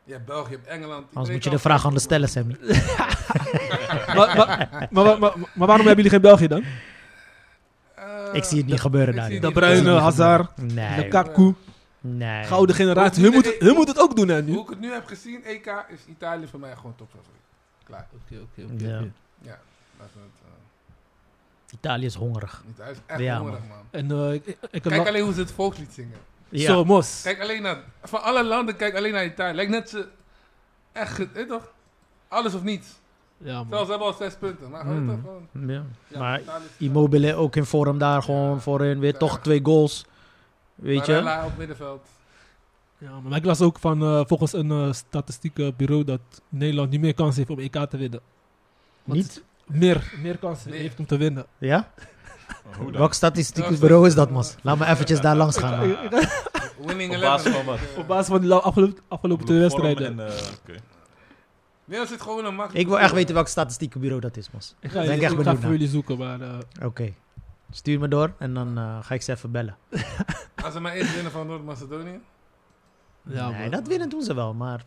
Je hebt België, je hebt Engeland. iedereen Anders moet je kan- de vraag aan de stellen, Sammy. maar, maar, maar, maar, maar- maar waarom hebben jullie geen België dan? Eh, Ik zie het niet gebeuren ik daar. zie De het niet Bruyne, gebeuren. Hazard, Nee. Lukaku, Nee. gouden generatie. Hun moet, hun moet het ook doen hè, nu. Hoe ik het nu heb gezien, EK, is Italië voor mij gewoon topfavoriet. Klaar. Oké, oké, oké, Ja. oké. Ja, laten we het eh, Italië is hongerig. niet uit. Echt Ja, hongerig, man. En eh, ik, ik, ik heb Kijk nog... alleen hoe ze het volkslied zingen. Ja. Zo, Mos. Kijk alleen naar... Van alle landen, kijk alleen naar Italië. Lijkt net ze... Echt, ge- weet je toch? Alles of niets. Ja, man. Zelfs ze hebben al zes punten. Maar gewoon Mm. toch gewoon... Ja. ja, Maar Italië is- eh, Immobile ook in vorm daar gewoon Ja. voorin. Weer Ja. eh, toch twee goals. Weet je? Barella op middenveld. Ja, maar ik las ook van eh, volgens een eh, statistiekenbureau dat Nederland niet meer kans heeft om EK te winnen. Want Niet? Meer, meer kansen Nee. heeft om te winnen. Ja? Hoe dan? Welk statistisch bureau is dat, Mas? Laat me eventjes daar langs gaan. man. Ah, Winning Op 11. basis van wat? Eh, Op basis van de afgelopen, afgelopen twee vorm wedstrijden. en, eh, oké. Nederland zit gewoon een makkelijk... Ik wil echt weten welk statistieke bureau dat is, Mas. eh, ik ga, Ben ik ik ga echt benieuwd voor naar. jullie zoeken, maar eh, Oké. Stuur me door en dan eh, ga ik ze even bellen. Als ze maar eerst winnen van Noord-Macedonië. ja, nee, man. dat winnen doen ze wel, maar...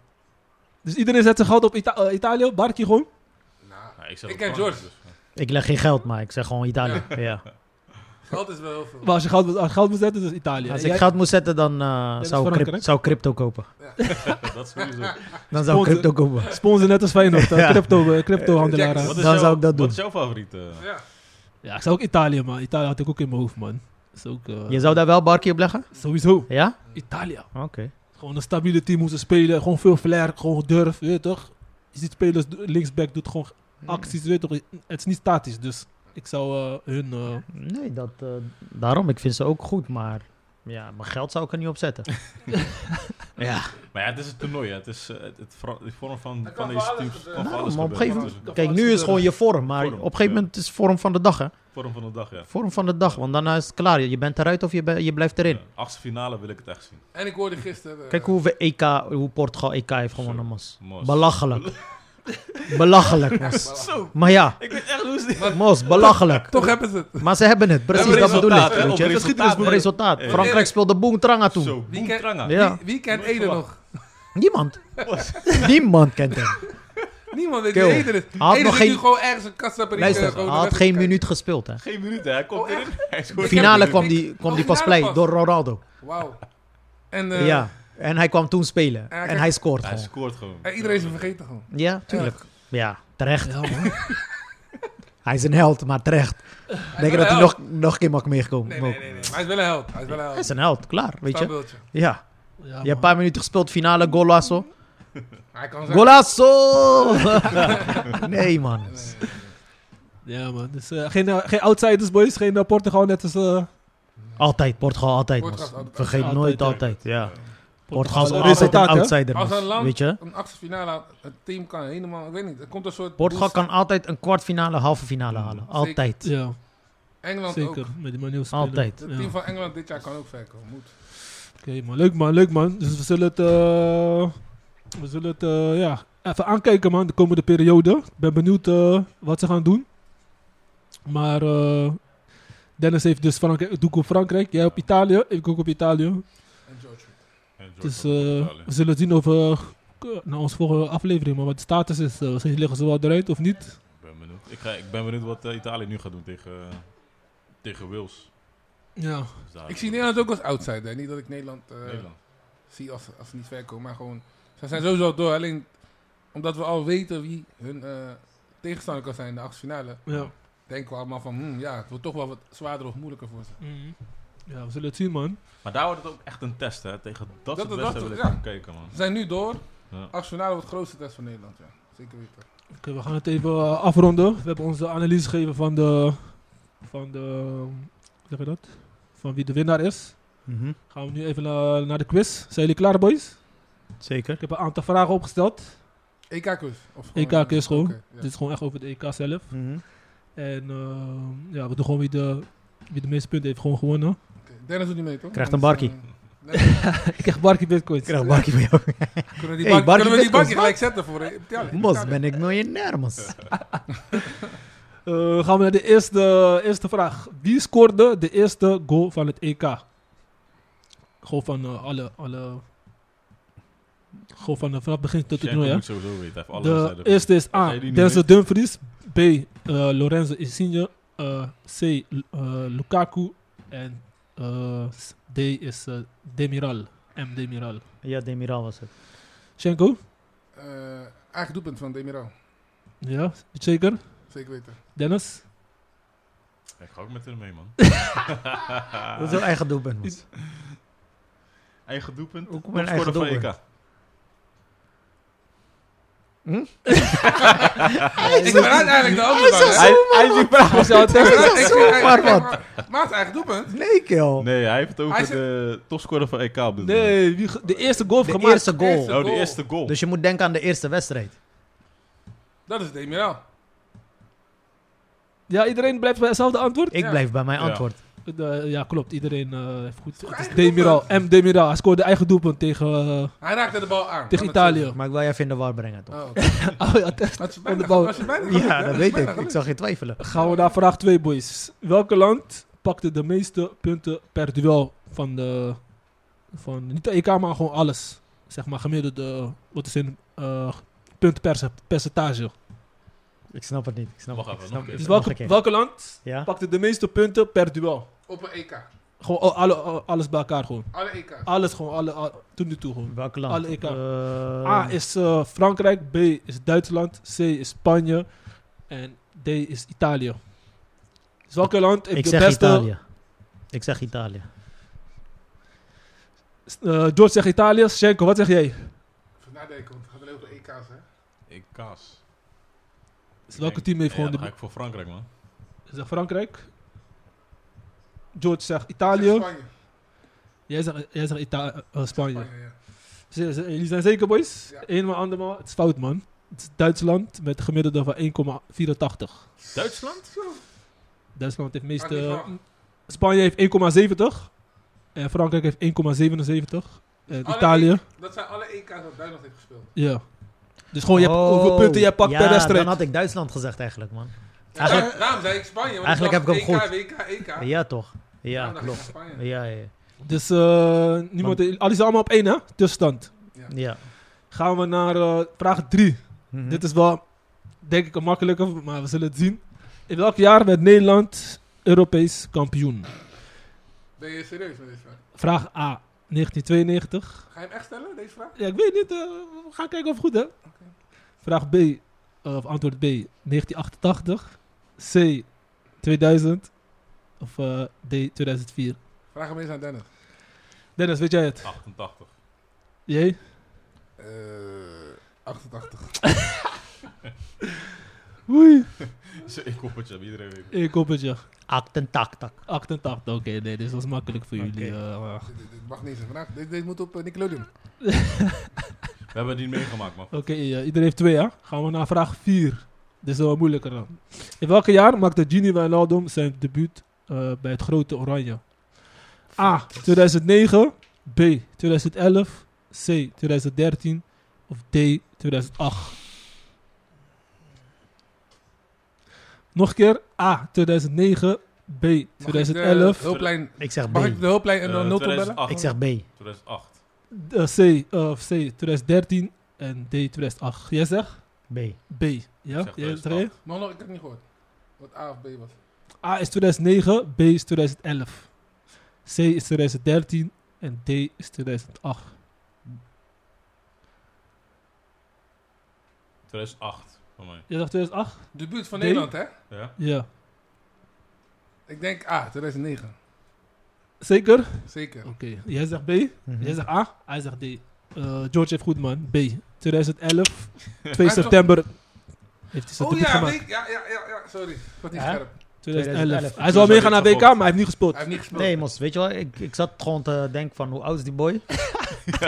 Dus iedereen zet zijn geld op Ita eh, Italië, Barkie gewoon. Nou, Nou, ik, zeg Ik dat ken Frankrijk, George. dus, Ik leg geen geld, maar ik zeg gewoon Italië. Ja. geld is wel heel veel. Maar als je geld, moet- als je geld moet zetten, dus Italië. Als En ik jij- geld moest zetten, dan eh, is zou, ik Frankrijk. crypt- zou ik crypto kopen. eh, dat is sowieso. Dan zou ik Sponsor- crypto kopen. Sponsor net als Feyenoord, eh, Ja. crypto, eh, crypto-handelaar. Jackson. eh. Wat is Dan jouw- zou ik dat doen. Wat is jouw favoriet? eh? Ja. ja, ik zou ook Italië, man. Italië had ik ook in mijn hoofd, man. Is ook, eh, Je zou daar wel barkie op leggen? Sowieso, Ja? Italië. Oké. Gewoon een stabiele team moeten spelen. Gewoon veel flair, gewoon durf, weet je toch? Je ziet spelers, do- linksback doet gewoon Mm. acties, weet je toch? Het is niet statisch, dus ik zou eh, hun... eh, Nee, dat, eh, daarom. Ik vind ze ook goed, maar ja, mijn geld zou ik er niet op zetten. ja. Maar ja, het is een toernooi. hè. Het is eh, het, het vora- de vorm van, Er kan van deze van alles teams. gebeuren. kan van Nou, alles maar op een gebeuren. gegeven Dus Kijk, nu is gewoon je vorm, maar Vorm, op een gegeven ja. moment is vorm van de dag, hè? de Vorm van de dag, ja. Vorm van de dag, want daarna is het klaar. Je bent eruit of je, be- je blijft erin. Ja, Achtste finale wil ik het echt zien. En ik hoorde gisteren... eh, Kijk hoe, we EK, hoe Portugal EK heeft gewonnen, Zo, Mos. mos. Belachelijk. belachelijk, Mos. Zo, Maar ja, ik weet echt hoe ze... Mos, belachelijk. Toch hebben ze het. Maar ze hebben het, precies, Hebben dat bedoel ik. resultaat, hè, Weet op je? resultaat, Op hè. resultaat. Eh. Frankrijk speelde Boentranga toen. Zo, Wie boem, ken- tranga. Ja. Wie, wie kent Nooit Ede verwacht. nog? Niemand. Niemand kent hem. Niemand weet Kill. wie Ede is. Had Ede nog zit nu geen- gewoon ergens een kassaper. Luister, hij had geen minuut gespeeld. Hè. Geen minuut, hè. Hij komt Oh, echt? erin. Hij scoort Ik erin. Finale heb- kwam die, kwam Oh, die pas finale play pas. door Ronaldo. Wauw. En, eh, Ja, en hij kwam toen spelen. hij En kreeg- hij scoort Hij gewoon. scoort gewoon. en iedereen is hem vergeten gewoon. Ja, tuurlijk. Ja, terecht. ja, man. Hij is een held, maar terecht. Hij Denk je is wel dat hij een nog, nog een keer mag meegekomen? Nee, nee, nee, nee. Maar hij is wel een held. Hij is wel een Hij is held. een held, klaar, weet je. Stabieltje. Ja, Ja, je hebt een man. paar minuten gespeeld, finale, golazo. Hij kan zijn. Golazo! nee, man. Nee, nee, Ja, man. Dus eh, geen, eh, geen outsiders, boys. Geen eh, Portugal, net als... eh, Altijd, Portugal altijd, Portugal Mos. altijd. Vergeet Altijd, nooit ja. altijd, ja. Portugal is Portugal. altijd een Resultaat, hè? outsider, Als een Mos, land- weet je. nee. Een achtste finale, had- het team kan helemaal, ik weet niet, er komt een soort... Portugal boost. kan altijd een kwartfinale, halve finale halen. Altijd. Ja, Engeland zeker. ook. Met die manier van spelen. Altijd. Het Ja. team van Engeland dit jaar kan ook ver komen. Moet. Oké, man. Leuk, man. Leuk, man. Dus we zullen het... eh, we zullen het, eh, ja... Even aankijken, man. De komende periode. Ik ben benieuwd eh, wat ze gaan doen. Maar... eh, Dennis heeft dus Frankrijk, doe ik op Frankrijk. Jij op Italië. Ik ook op Italië. En George. En George Dus van eh, Italië. we zullen zien of we naar onze volgende aflevering, maar wat de status is. eh, ze liggen ze wel eruit of niet? Ik ben benieuwd. Ik, ga, ik ben benieuwd wat eh, Italië nu gaat doen tegen, eh, tegen Wales. Ja. Dus daar- Ik zie Nederland ook als outsider. Niet dat ik Nederland, eh, Nederland. zie als, als ze niet ver komen, maar gewoon... Ze zijn sowieso door, alleen omdat we al weten wie hun eh, tegenstander kan zijn in de achtste finale. Ja. denken we allemaal van, hmm, ja, het wordt toch wel wat zwaarder of moeilijker voor ze. ja, we zullen het zien, man. Maar daar wordt het ook echt een test, hè. Tegen Dat- dat, soort dat- wedstrijden dat- wil ik ja. gaan kijken, man. Ze zijn nu door. Ja. Achtste finale wordt de grootste test van Nederland, ja. Zeker weten. Oké, we gaan het even eh, afronden. We hebben onze analyse gegeven van de. van de. hoe zeg je dat? Van wie de winnaar is. Mhm, Gaan we nu even eh, naar de quiz. Zijn jullie klaar, boys? Zeker. Ik heb een aantal vragen opgesteld. EK-kus. E of gewoon- EK-kus E gewoon. Dus- Oké, ja. Dit is gewoon echt over de EK zelf. Mhm. En eh, ja, we doen gewoon wie de, wie de meeste punten heeft gewoon gewonnen. Oké, Dennis doet niet mee, toch? Krijgt een Anders, barkie. eh, Dennis, Ik krijg Barkie Bitcoins. Ik krijg een barkie van jou. kunnen we die barkie, Hey, barkie kunnen we die Bitcoins, barkie gelijk zetten voor eh, Italië? Mos, Italië. ben ik miljonair, Mos. Eh, gaan we naar de eerste, eerste vraag. Wie scoorde de eerste goal van het EK? Gewoon van eh, alle, alle... Gewoon van eh, vanaf het begin tot het Shenko toernooi, hè? moet sowieso weten. Hij heeft alle De wedstrijden- eerste is Als A. jij die niet Denzel weet. Dumfries. B. eh, Lorenzo Insigne. eh, C. Lu- eh, Lukaku. En eh, D is eh, Demiral. M. Demiral. Ja, Demiral was het. Schenko? Eh, eigen doelpunt van Demiral. Ja, zeker. Zeker weten. Dennis? Ik ga ook met hem mee, man. Ah. Dat is jouw eigen doelpunt. man. Eigen doelpunt. Ook mijn eigen Topscorer van doelpunt. EK. Ik ben uiteindelijk de andere Hij hij is die vraag was jou Ik ben uit- ik- ik- ik- Maar wat? maar- Maar het eigen doelpunt? Nee, kill. Nee, hij heeft ook Hij is- de topscorer van EK op dit moment. Nee, wie ge- de eerste goal heeft De gemaakt. eerste goal. Eerste. Oh, de goal. eerste goal. Dus je moet denken aan de eerste wedstrijd. Dat is Demiral. Ja, iedereen blijft bij hetzelfde antwoord? Ik Ja. blijf bij mijn Ja. antwoord. Eh, ja, klopt. Iedereen eh, heeft goed. Het is eigen Demiral. doelpunt. M. Demiral. Hij scoorde eigen doelpunt tegen, eh, Hij raakte de bal aan. Kan tegen het Italië. Maar ik wil jij even in de war brengen, zo? toch? Oh, oké. Oh, ja, Maar dat- het is Van de bijna- bal. maar het is bijna gelukt, hè? Ja, dat Het is weet bijna ik. Ik gelukt. zag je twijfelen. Gaan we naar vraag 2, boys. Welk land pakte de meeste punten per duel van de... Van, niet de EK, maar gewoon alles. Zeg maar gemiddelde... Wat is een eh punt per percentage? Ik snap het niet. Ik snap Wacht het even, niet. Ik snap nog het een Dus niet. Nog een welke, keer. welke land Ja? pakte de meeste punten per duel? Op een EK. Gewoon al- alle, al- alles bij elkaar gewoon. Alle EK. Alles gewoon, alle, al- tot nu toe gewoon. Welk land? Alle EK. Eh, A is eh, Frankrijk, B is Duitsland, C is Spanje en D is Italië. Dus welke land heeft ik de zeg beste... Italië. Ik zeg Italië. Eh, George zegt Italië, Schenko, wat zeg jij? Even nadenken, want het gaat alleen over EK's, hè? EK's. Dus welke team heeft Ja, gewoon dan ga de... ik voor Frankrijk, man. Zegt Frankrijk. George zegt Zeg Italië. Spanje. Jij zegt, jij zegt Ita- eh, eh, Spanje. Spanje, ja. Z- z- Jullie zijn zeker, boys? Ja. Eenmaal, andermaal. Het is fout, man. Het is Duitsland met een gemiddelde van 1,84. Duitsland? Had Duitsland heeft niet meeste... verwacht. Spanje heeft 1,70. En Frankrijk heeft 1,77. En Alle E- Italië. Dat zijn alle EK's dat Duitsland heeft gespeeld. Ja. Dus gewoon, je hebt, Oh, hoeveel punten jij pakt ja, per wedstrijd. dan had ik Duitsland gezegd eigenlijk, man. Ja, Eigenlijk- daar- daarom zei ik Spanje. Want eigenlijk ik dacht heb ik hem goed. EK, WK, EK. Ja, toch? Ja, Daarom dacht ik klopt. Spanje. Ja, ja. Dus eh niemand... Al is allemaal op één, hè? Tussenstand. ja. Gaan we naar eh, vraag 3. Mhm. Hm. Dit is wel, denk ik, een makkelijke, maar we zullen het zien. In welk jaar werd Nederland Europees kampioen? Ben je serieus met deze vraag? Vraag A, 1992. Ga je hem echt stellen, deze vraag? Ja, ik weet niet, eh, we gaan kijken of het goed hè. Vraag B, eh, of antwoord B, 1988. C, 2000. Of eh, D, 2004. Vraag hem eens aan Dennis. Dennis, weet jij het? 88. Jij? Eh 88. Oei. Zo, Ik hoop het, je hebt iedereen weet. Ik hoop het, ja. 88. 88, oké, nee, dit was makkelijk voor Oké. jullie. eh, Dit- dit- Dit mag niet eens een vraag. Dit, dit moet op eh, Nickelodeon. We hebben het niet meegemaakt, man. Oké, eh, iedereen heeft twee, hè? Gaan we naar vraag 4. Dit is wel moeilijker dan. In welke jaar maakte Gini Wijnaldum zijn debuut eh, bij het grote Oranje? A. 2009. B. 2011. C. 2013. Of D. 2008. Nog een keer. A. 2009. B. Mag ik de 2011. eh, hulplijn- Ik zeg B. Mag ik de hulplijn en Eh, dan 0 bellen? 2008. Ik zeg B. 2008. eh, C. eh, of C. 2013. En D. 2008. Jij zegt B. B. Ja? Zeg Jij zegt 2008. A. Nog, nog, ik heb het niet gehoord. Wat A of B was. A is 2009, B is 2011. C is 2013 en D is 2008. 2008, voor mij. Jij dacht 2008? De buurt van D? Nederland, hè? Ja? Ja. Ik denk A, 2009. Zeker? Oké. Zeker. Jij zegt B, Mhm. jij zegt A, hij zegt D. Eh, George heeft goed, man. B. 2011, 2 toch- september heeft hij zijn Oh debuut ja, gemaakt. weet- ja, ja, ja, ja, sorry. Ik was niet Ja? scherp. 2011. 2011. Hij zou meegaan naar WK, Gevolgd. maar hij heeft niet gespeeld. Hij heeft niet gespeeld. Nee, mos, weet je wel, ik, ik zat gewoon te denken van hoe oud is die boy?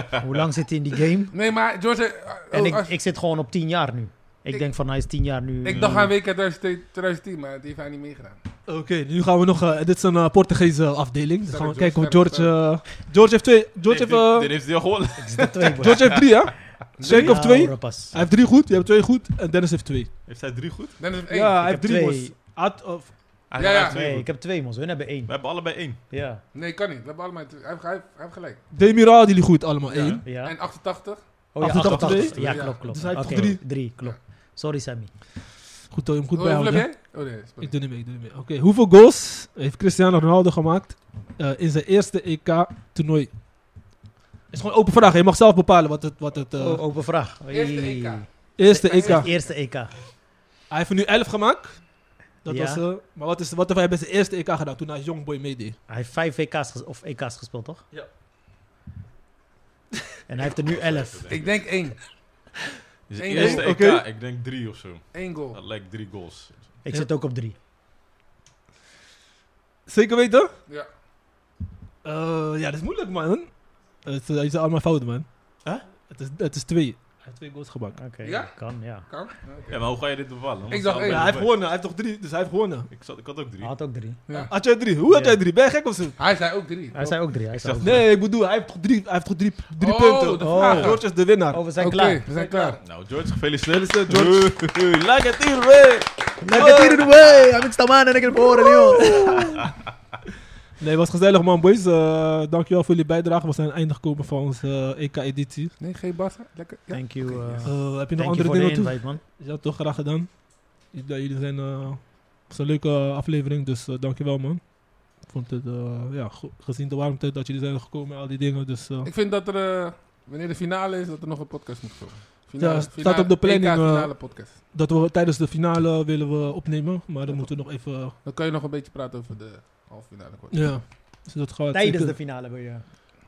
Hoe lang zit hij in die game? Nee, maar George... eh, oh, En ik, als- ik zit gewoon op 10 jaar nu. Ik, Ik- denk van hij is 10 jaar nu. ik dacht aan WK 2010, maar die heeft hij niet meegedaan. Oké, nu gaan we nog... eh, dit is een eh, Portugese afdeling. Dus Sorry, gaan we George, kijken of sorry, George... eh, George heeft twee... George Dit heeft, eh, heeft- dit heeft hij al gewonnen. Ik zit twee, boy. George heeft drie, hè? Zeker of Ja, twee? hoor, pas. Hij heeft drie goed, je hebt twee goed en Dennis heeft twee. Heeft hij drie goed? Dennis heeft één. Ja, hij Ik heeft heb drie twee. boys. Had, of, Hij Ja, hij ja. heeft twee Nee, goed. ik heb twee, man. Hun hebben één. We hebben allebei één. Ja. Nee, kan niet. We hebben allemaal... Hij heeft, hij heeft- hij heeft gelijk. Demiral hadden jullie goed allemaal Ja. één. ja. En 88. Oh ja, 88. 88. Ja, Ja. klopt, klopt. Dus hij heeft Oké, toch drie? klopt. Sorry, Sammy. Goed dat je hem goed Hoe- bijhouden. Hoeveel heb jij? Oh nee, sorry. Ik doe niet mee, ik doe niet mee. Oké, hoeveel goals heeft Cristiano Ronaldo gemaakt eh, in zijn eerste EK-toernooi? is gewoon open vraag. hè. Je mag zelf bepalen wat het... Wat het eh, Oh, open vraag. Eerste E Oei. EK. Eerste Mijn EK. eerste- Eerste E EK. Hij heeft er nu 11 gemaakt. Dat Ja. was, eh, maar wat, is, wat heeft hij bij zijn eerste EK gedaan toen hij als jongboy meedeed? Hij heeft vijf EK's ges- of EK's gespeeld, toch? Ja. En hij heeft er nu elf. Ik denk één. Is Eén eerste goal. EK, Oké. ik denk drie of zo. Eén goal. Dat lijkt drie goals. Ik zit ook op drie. Zeker weten? Ja. Eh, ja, dat is moeilijk, man. Het, uh, je zijn allemaal fouten, man. Hè? Het is, het is twee. Hij heeft twee goals gemaakt. Oké, Ja? kan, ja. Kan. Ja, oké. Ja, maar hoe ga je dit bepalen? Want Ik dacht ze één. Ja, allebei hij heeft erbij. gewonnen. Hij heeft toch drie, dus hij heeft gewonnen. Ik, zat, ik had ook drie. Hij had ook drie. Ja. Had jij drie? Hoe heb Ja. jij drie? Ben je gek of zo? Hij zei ook drie. Hij zei ook drie. Hij zei ook Nee, ik bedoel, hij heeft toch drie, hij heeft toch drie, drie Oh, punten. de Oh. vragen. George is de winnaar. drie. Oh, we zijn Oké, klaar. we zijn klaar. Nou, George, gefeliciteerd. Gefeliciteerd, George. Laat het hier weer. Lekker hier in de way. Heb ik staan en ik heb horen, joh. Nee, het was gezellig man, boys. Eh, dankjewel voor jullie bijdrage. We zijn aan het einde gekomen van onze eh, EK-editie. Nee, geen bassen. Lekker. Ja. Thank you. Oké, Eh, eh, heb je nog Thank you andere voor de dingen toe? invite, man. Ja, toch graag gedaan. Ik- ja, Jullie zijn. eh, het is een leuke aflevering, dus eh, dankjewel man. Ik vond het, eh, ja, go- gezien de warmte dat jullie zijn gekomen en al die dingen. Dus eh, Ik vind dat er, eh, wanneer de finale is, dat er nog een podcast moet komen. Finale, Ja, staat op de planning, EK eh, finale podcast. dat we tijdens de finale willen we opnemen, maar dan moeten we nog even. Dan kan je nog een beetje praten over de halve finale. kwart. ja, dus dat gaat. Tijdens de zeker- finale wil je.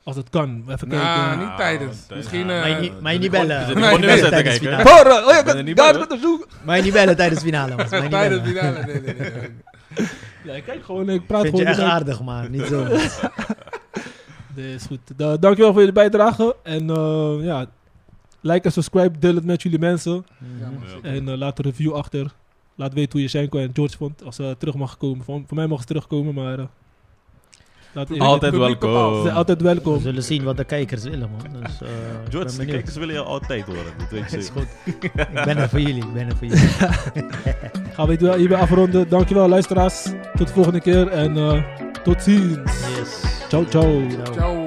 Als het kan, even Nou, kijken. niet tijdens. Ah, Misschien... tijdens. eh, Mij niet- mij dat niet ik gewoon- bellen. We Nee, zitten gewoon de nee, wedstrijd te tijdens kijken. finale. hè? Horen! Oh ja, Ben je niet daar bang, met de zoek! Maar je niet bellen tijdens finale, man. Maar je niet Tijdens bellen. finale, nee, nee, nee, nee. Ja, ik kijk gewoon, ik praat Vind je gewoon. echt door. aardig, maar niet zo. Nee, is goed. Da- dankjewel voor jullie bijdrage. En eh, ja, like en subscribe, deel het met jullie mensen. Ja, Mhm. man, Ja. zeker. En eh, laat een review achter. Laat weten hoe je Shenko en George vond. Als ze terug mag komen. Voor, voor mij mogen ze terugkomen, maar... eh, laat even- Altijd Publiek bepaalt. Ze zijn welkom. altijd welkom. We zullen zien wat de kijkers willen, man. Dus, eh, ik George, de ben benieuwd. kijkers willen jou altijd horen. Dat weet je Is zeker. goed. Ik ben er voor jullie. Ik ben er voor jullie. Gaan we het hierbij afronden. Dankjewel luisteraars. Tot de volgende keer en eh, tot ziens. Yes. Ciao, ciao. Oh. Ciao.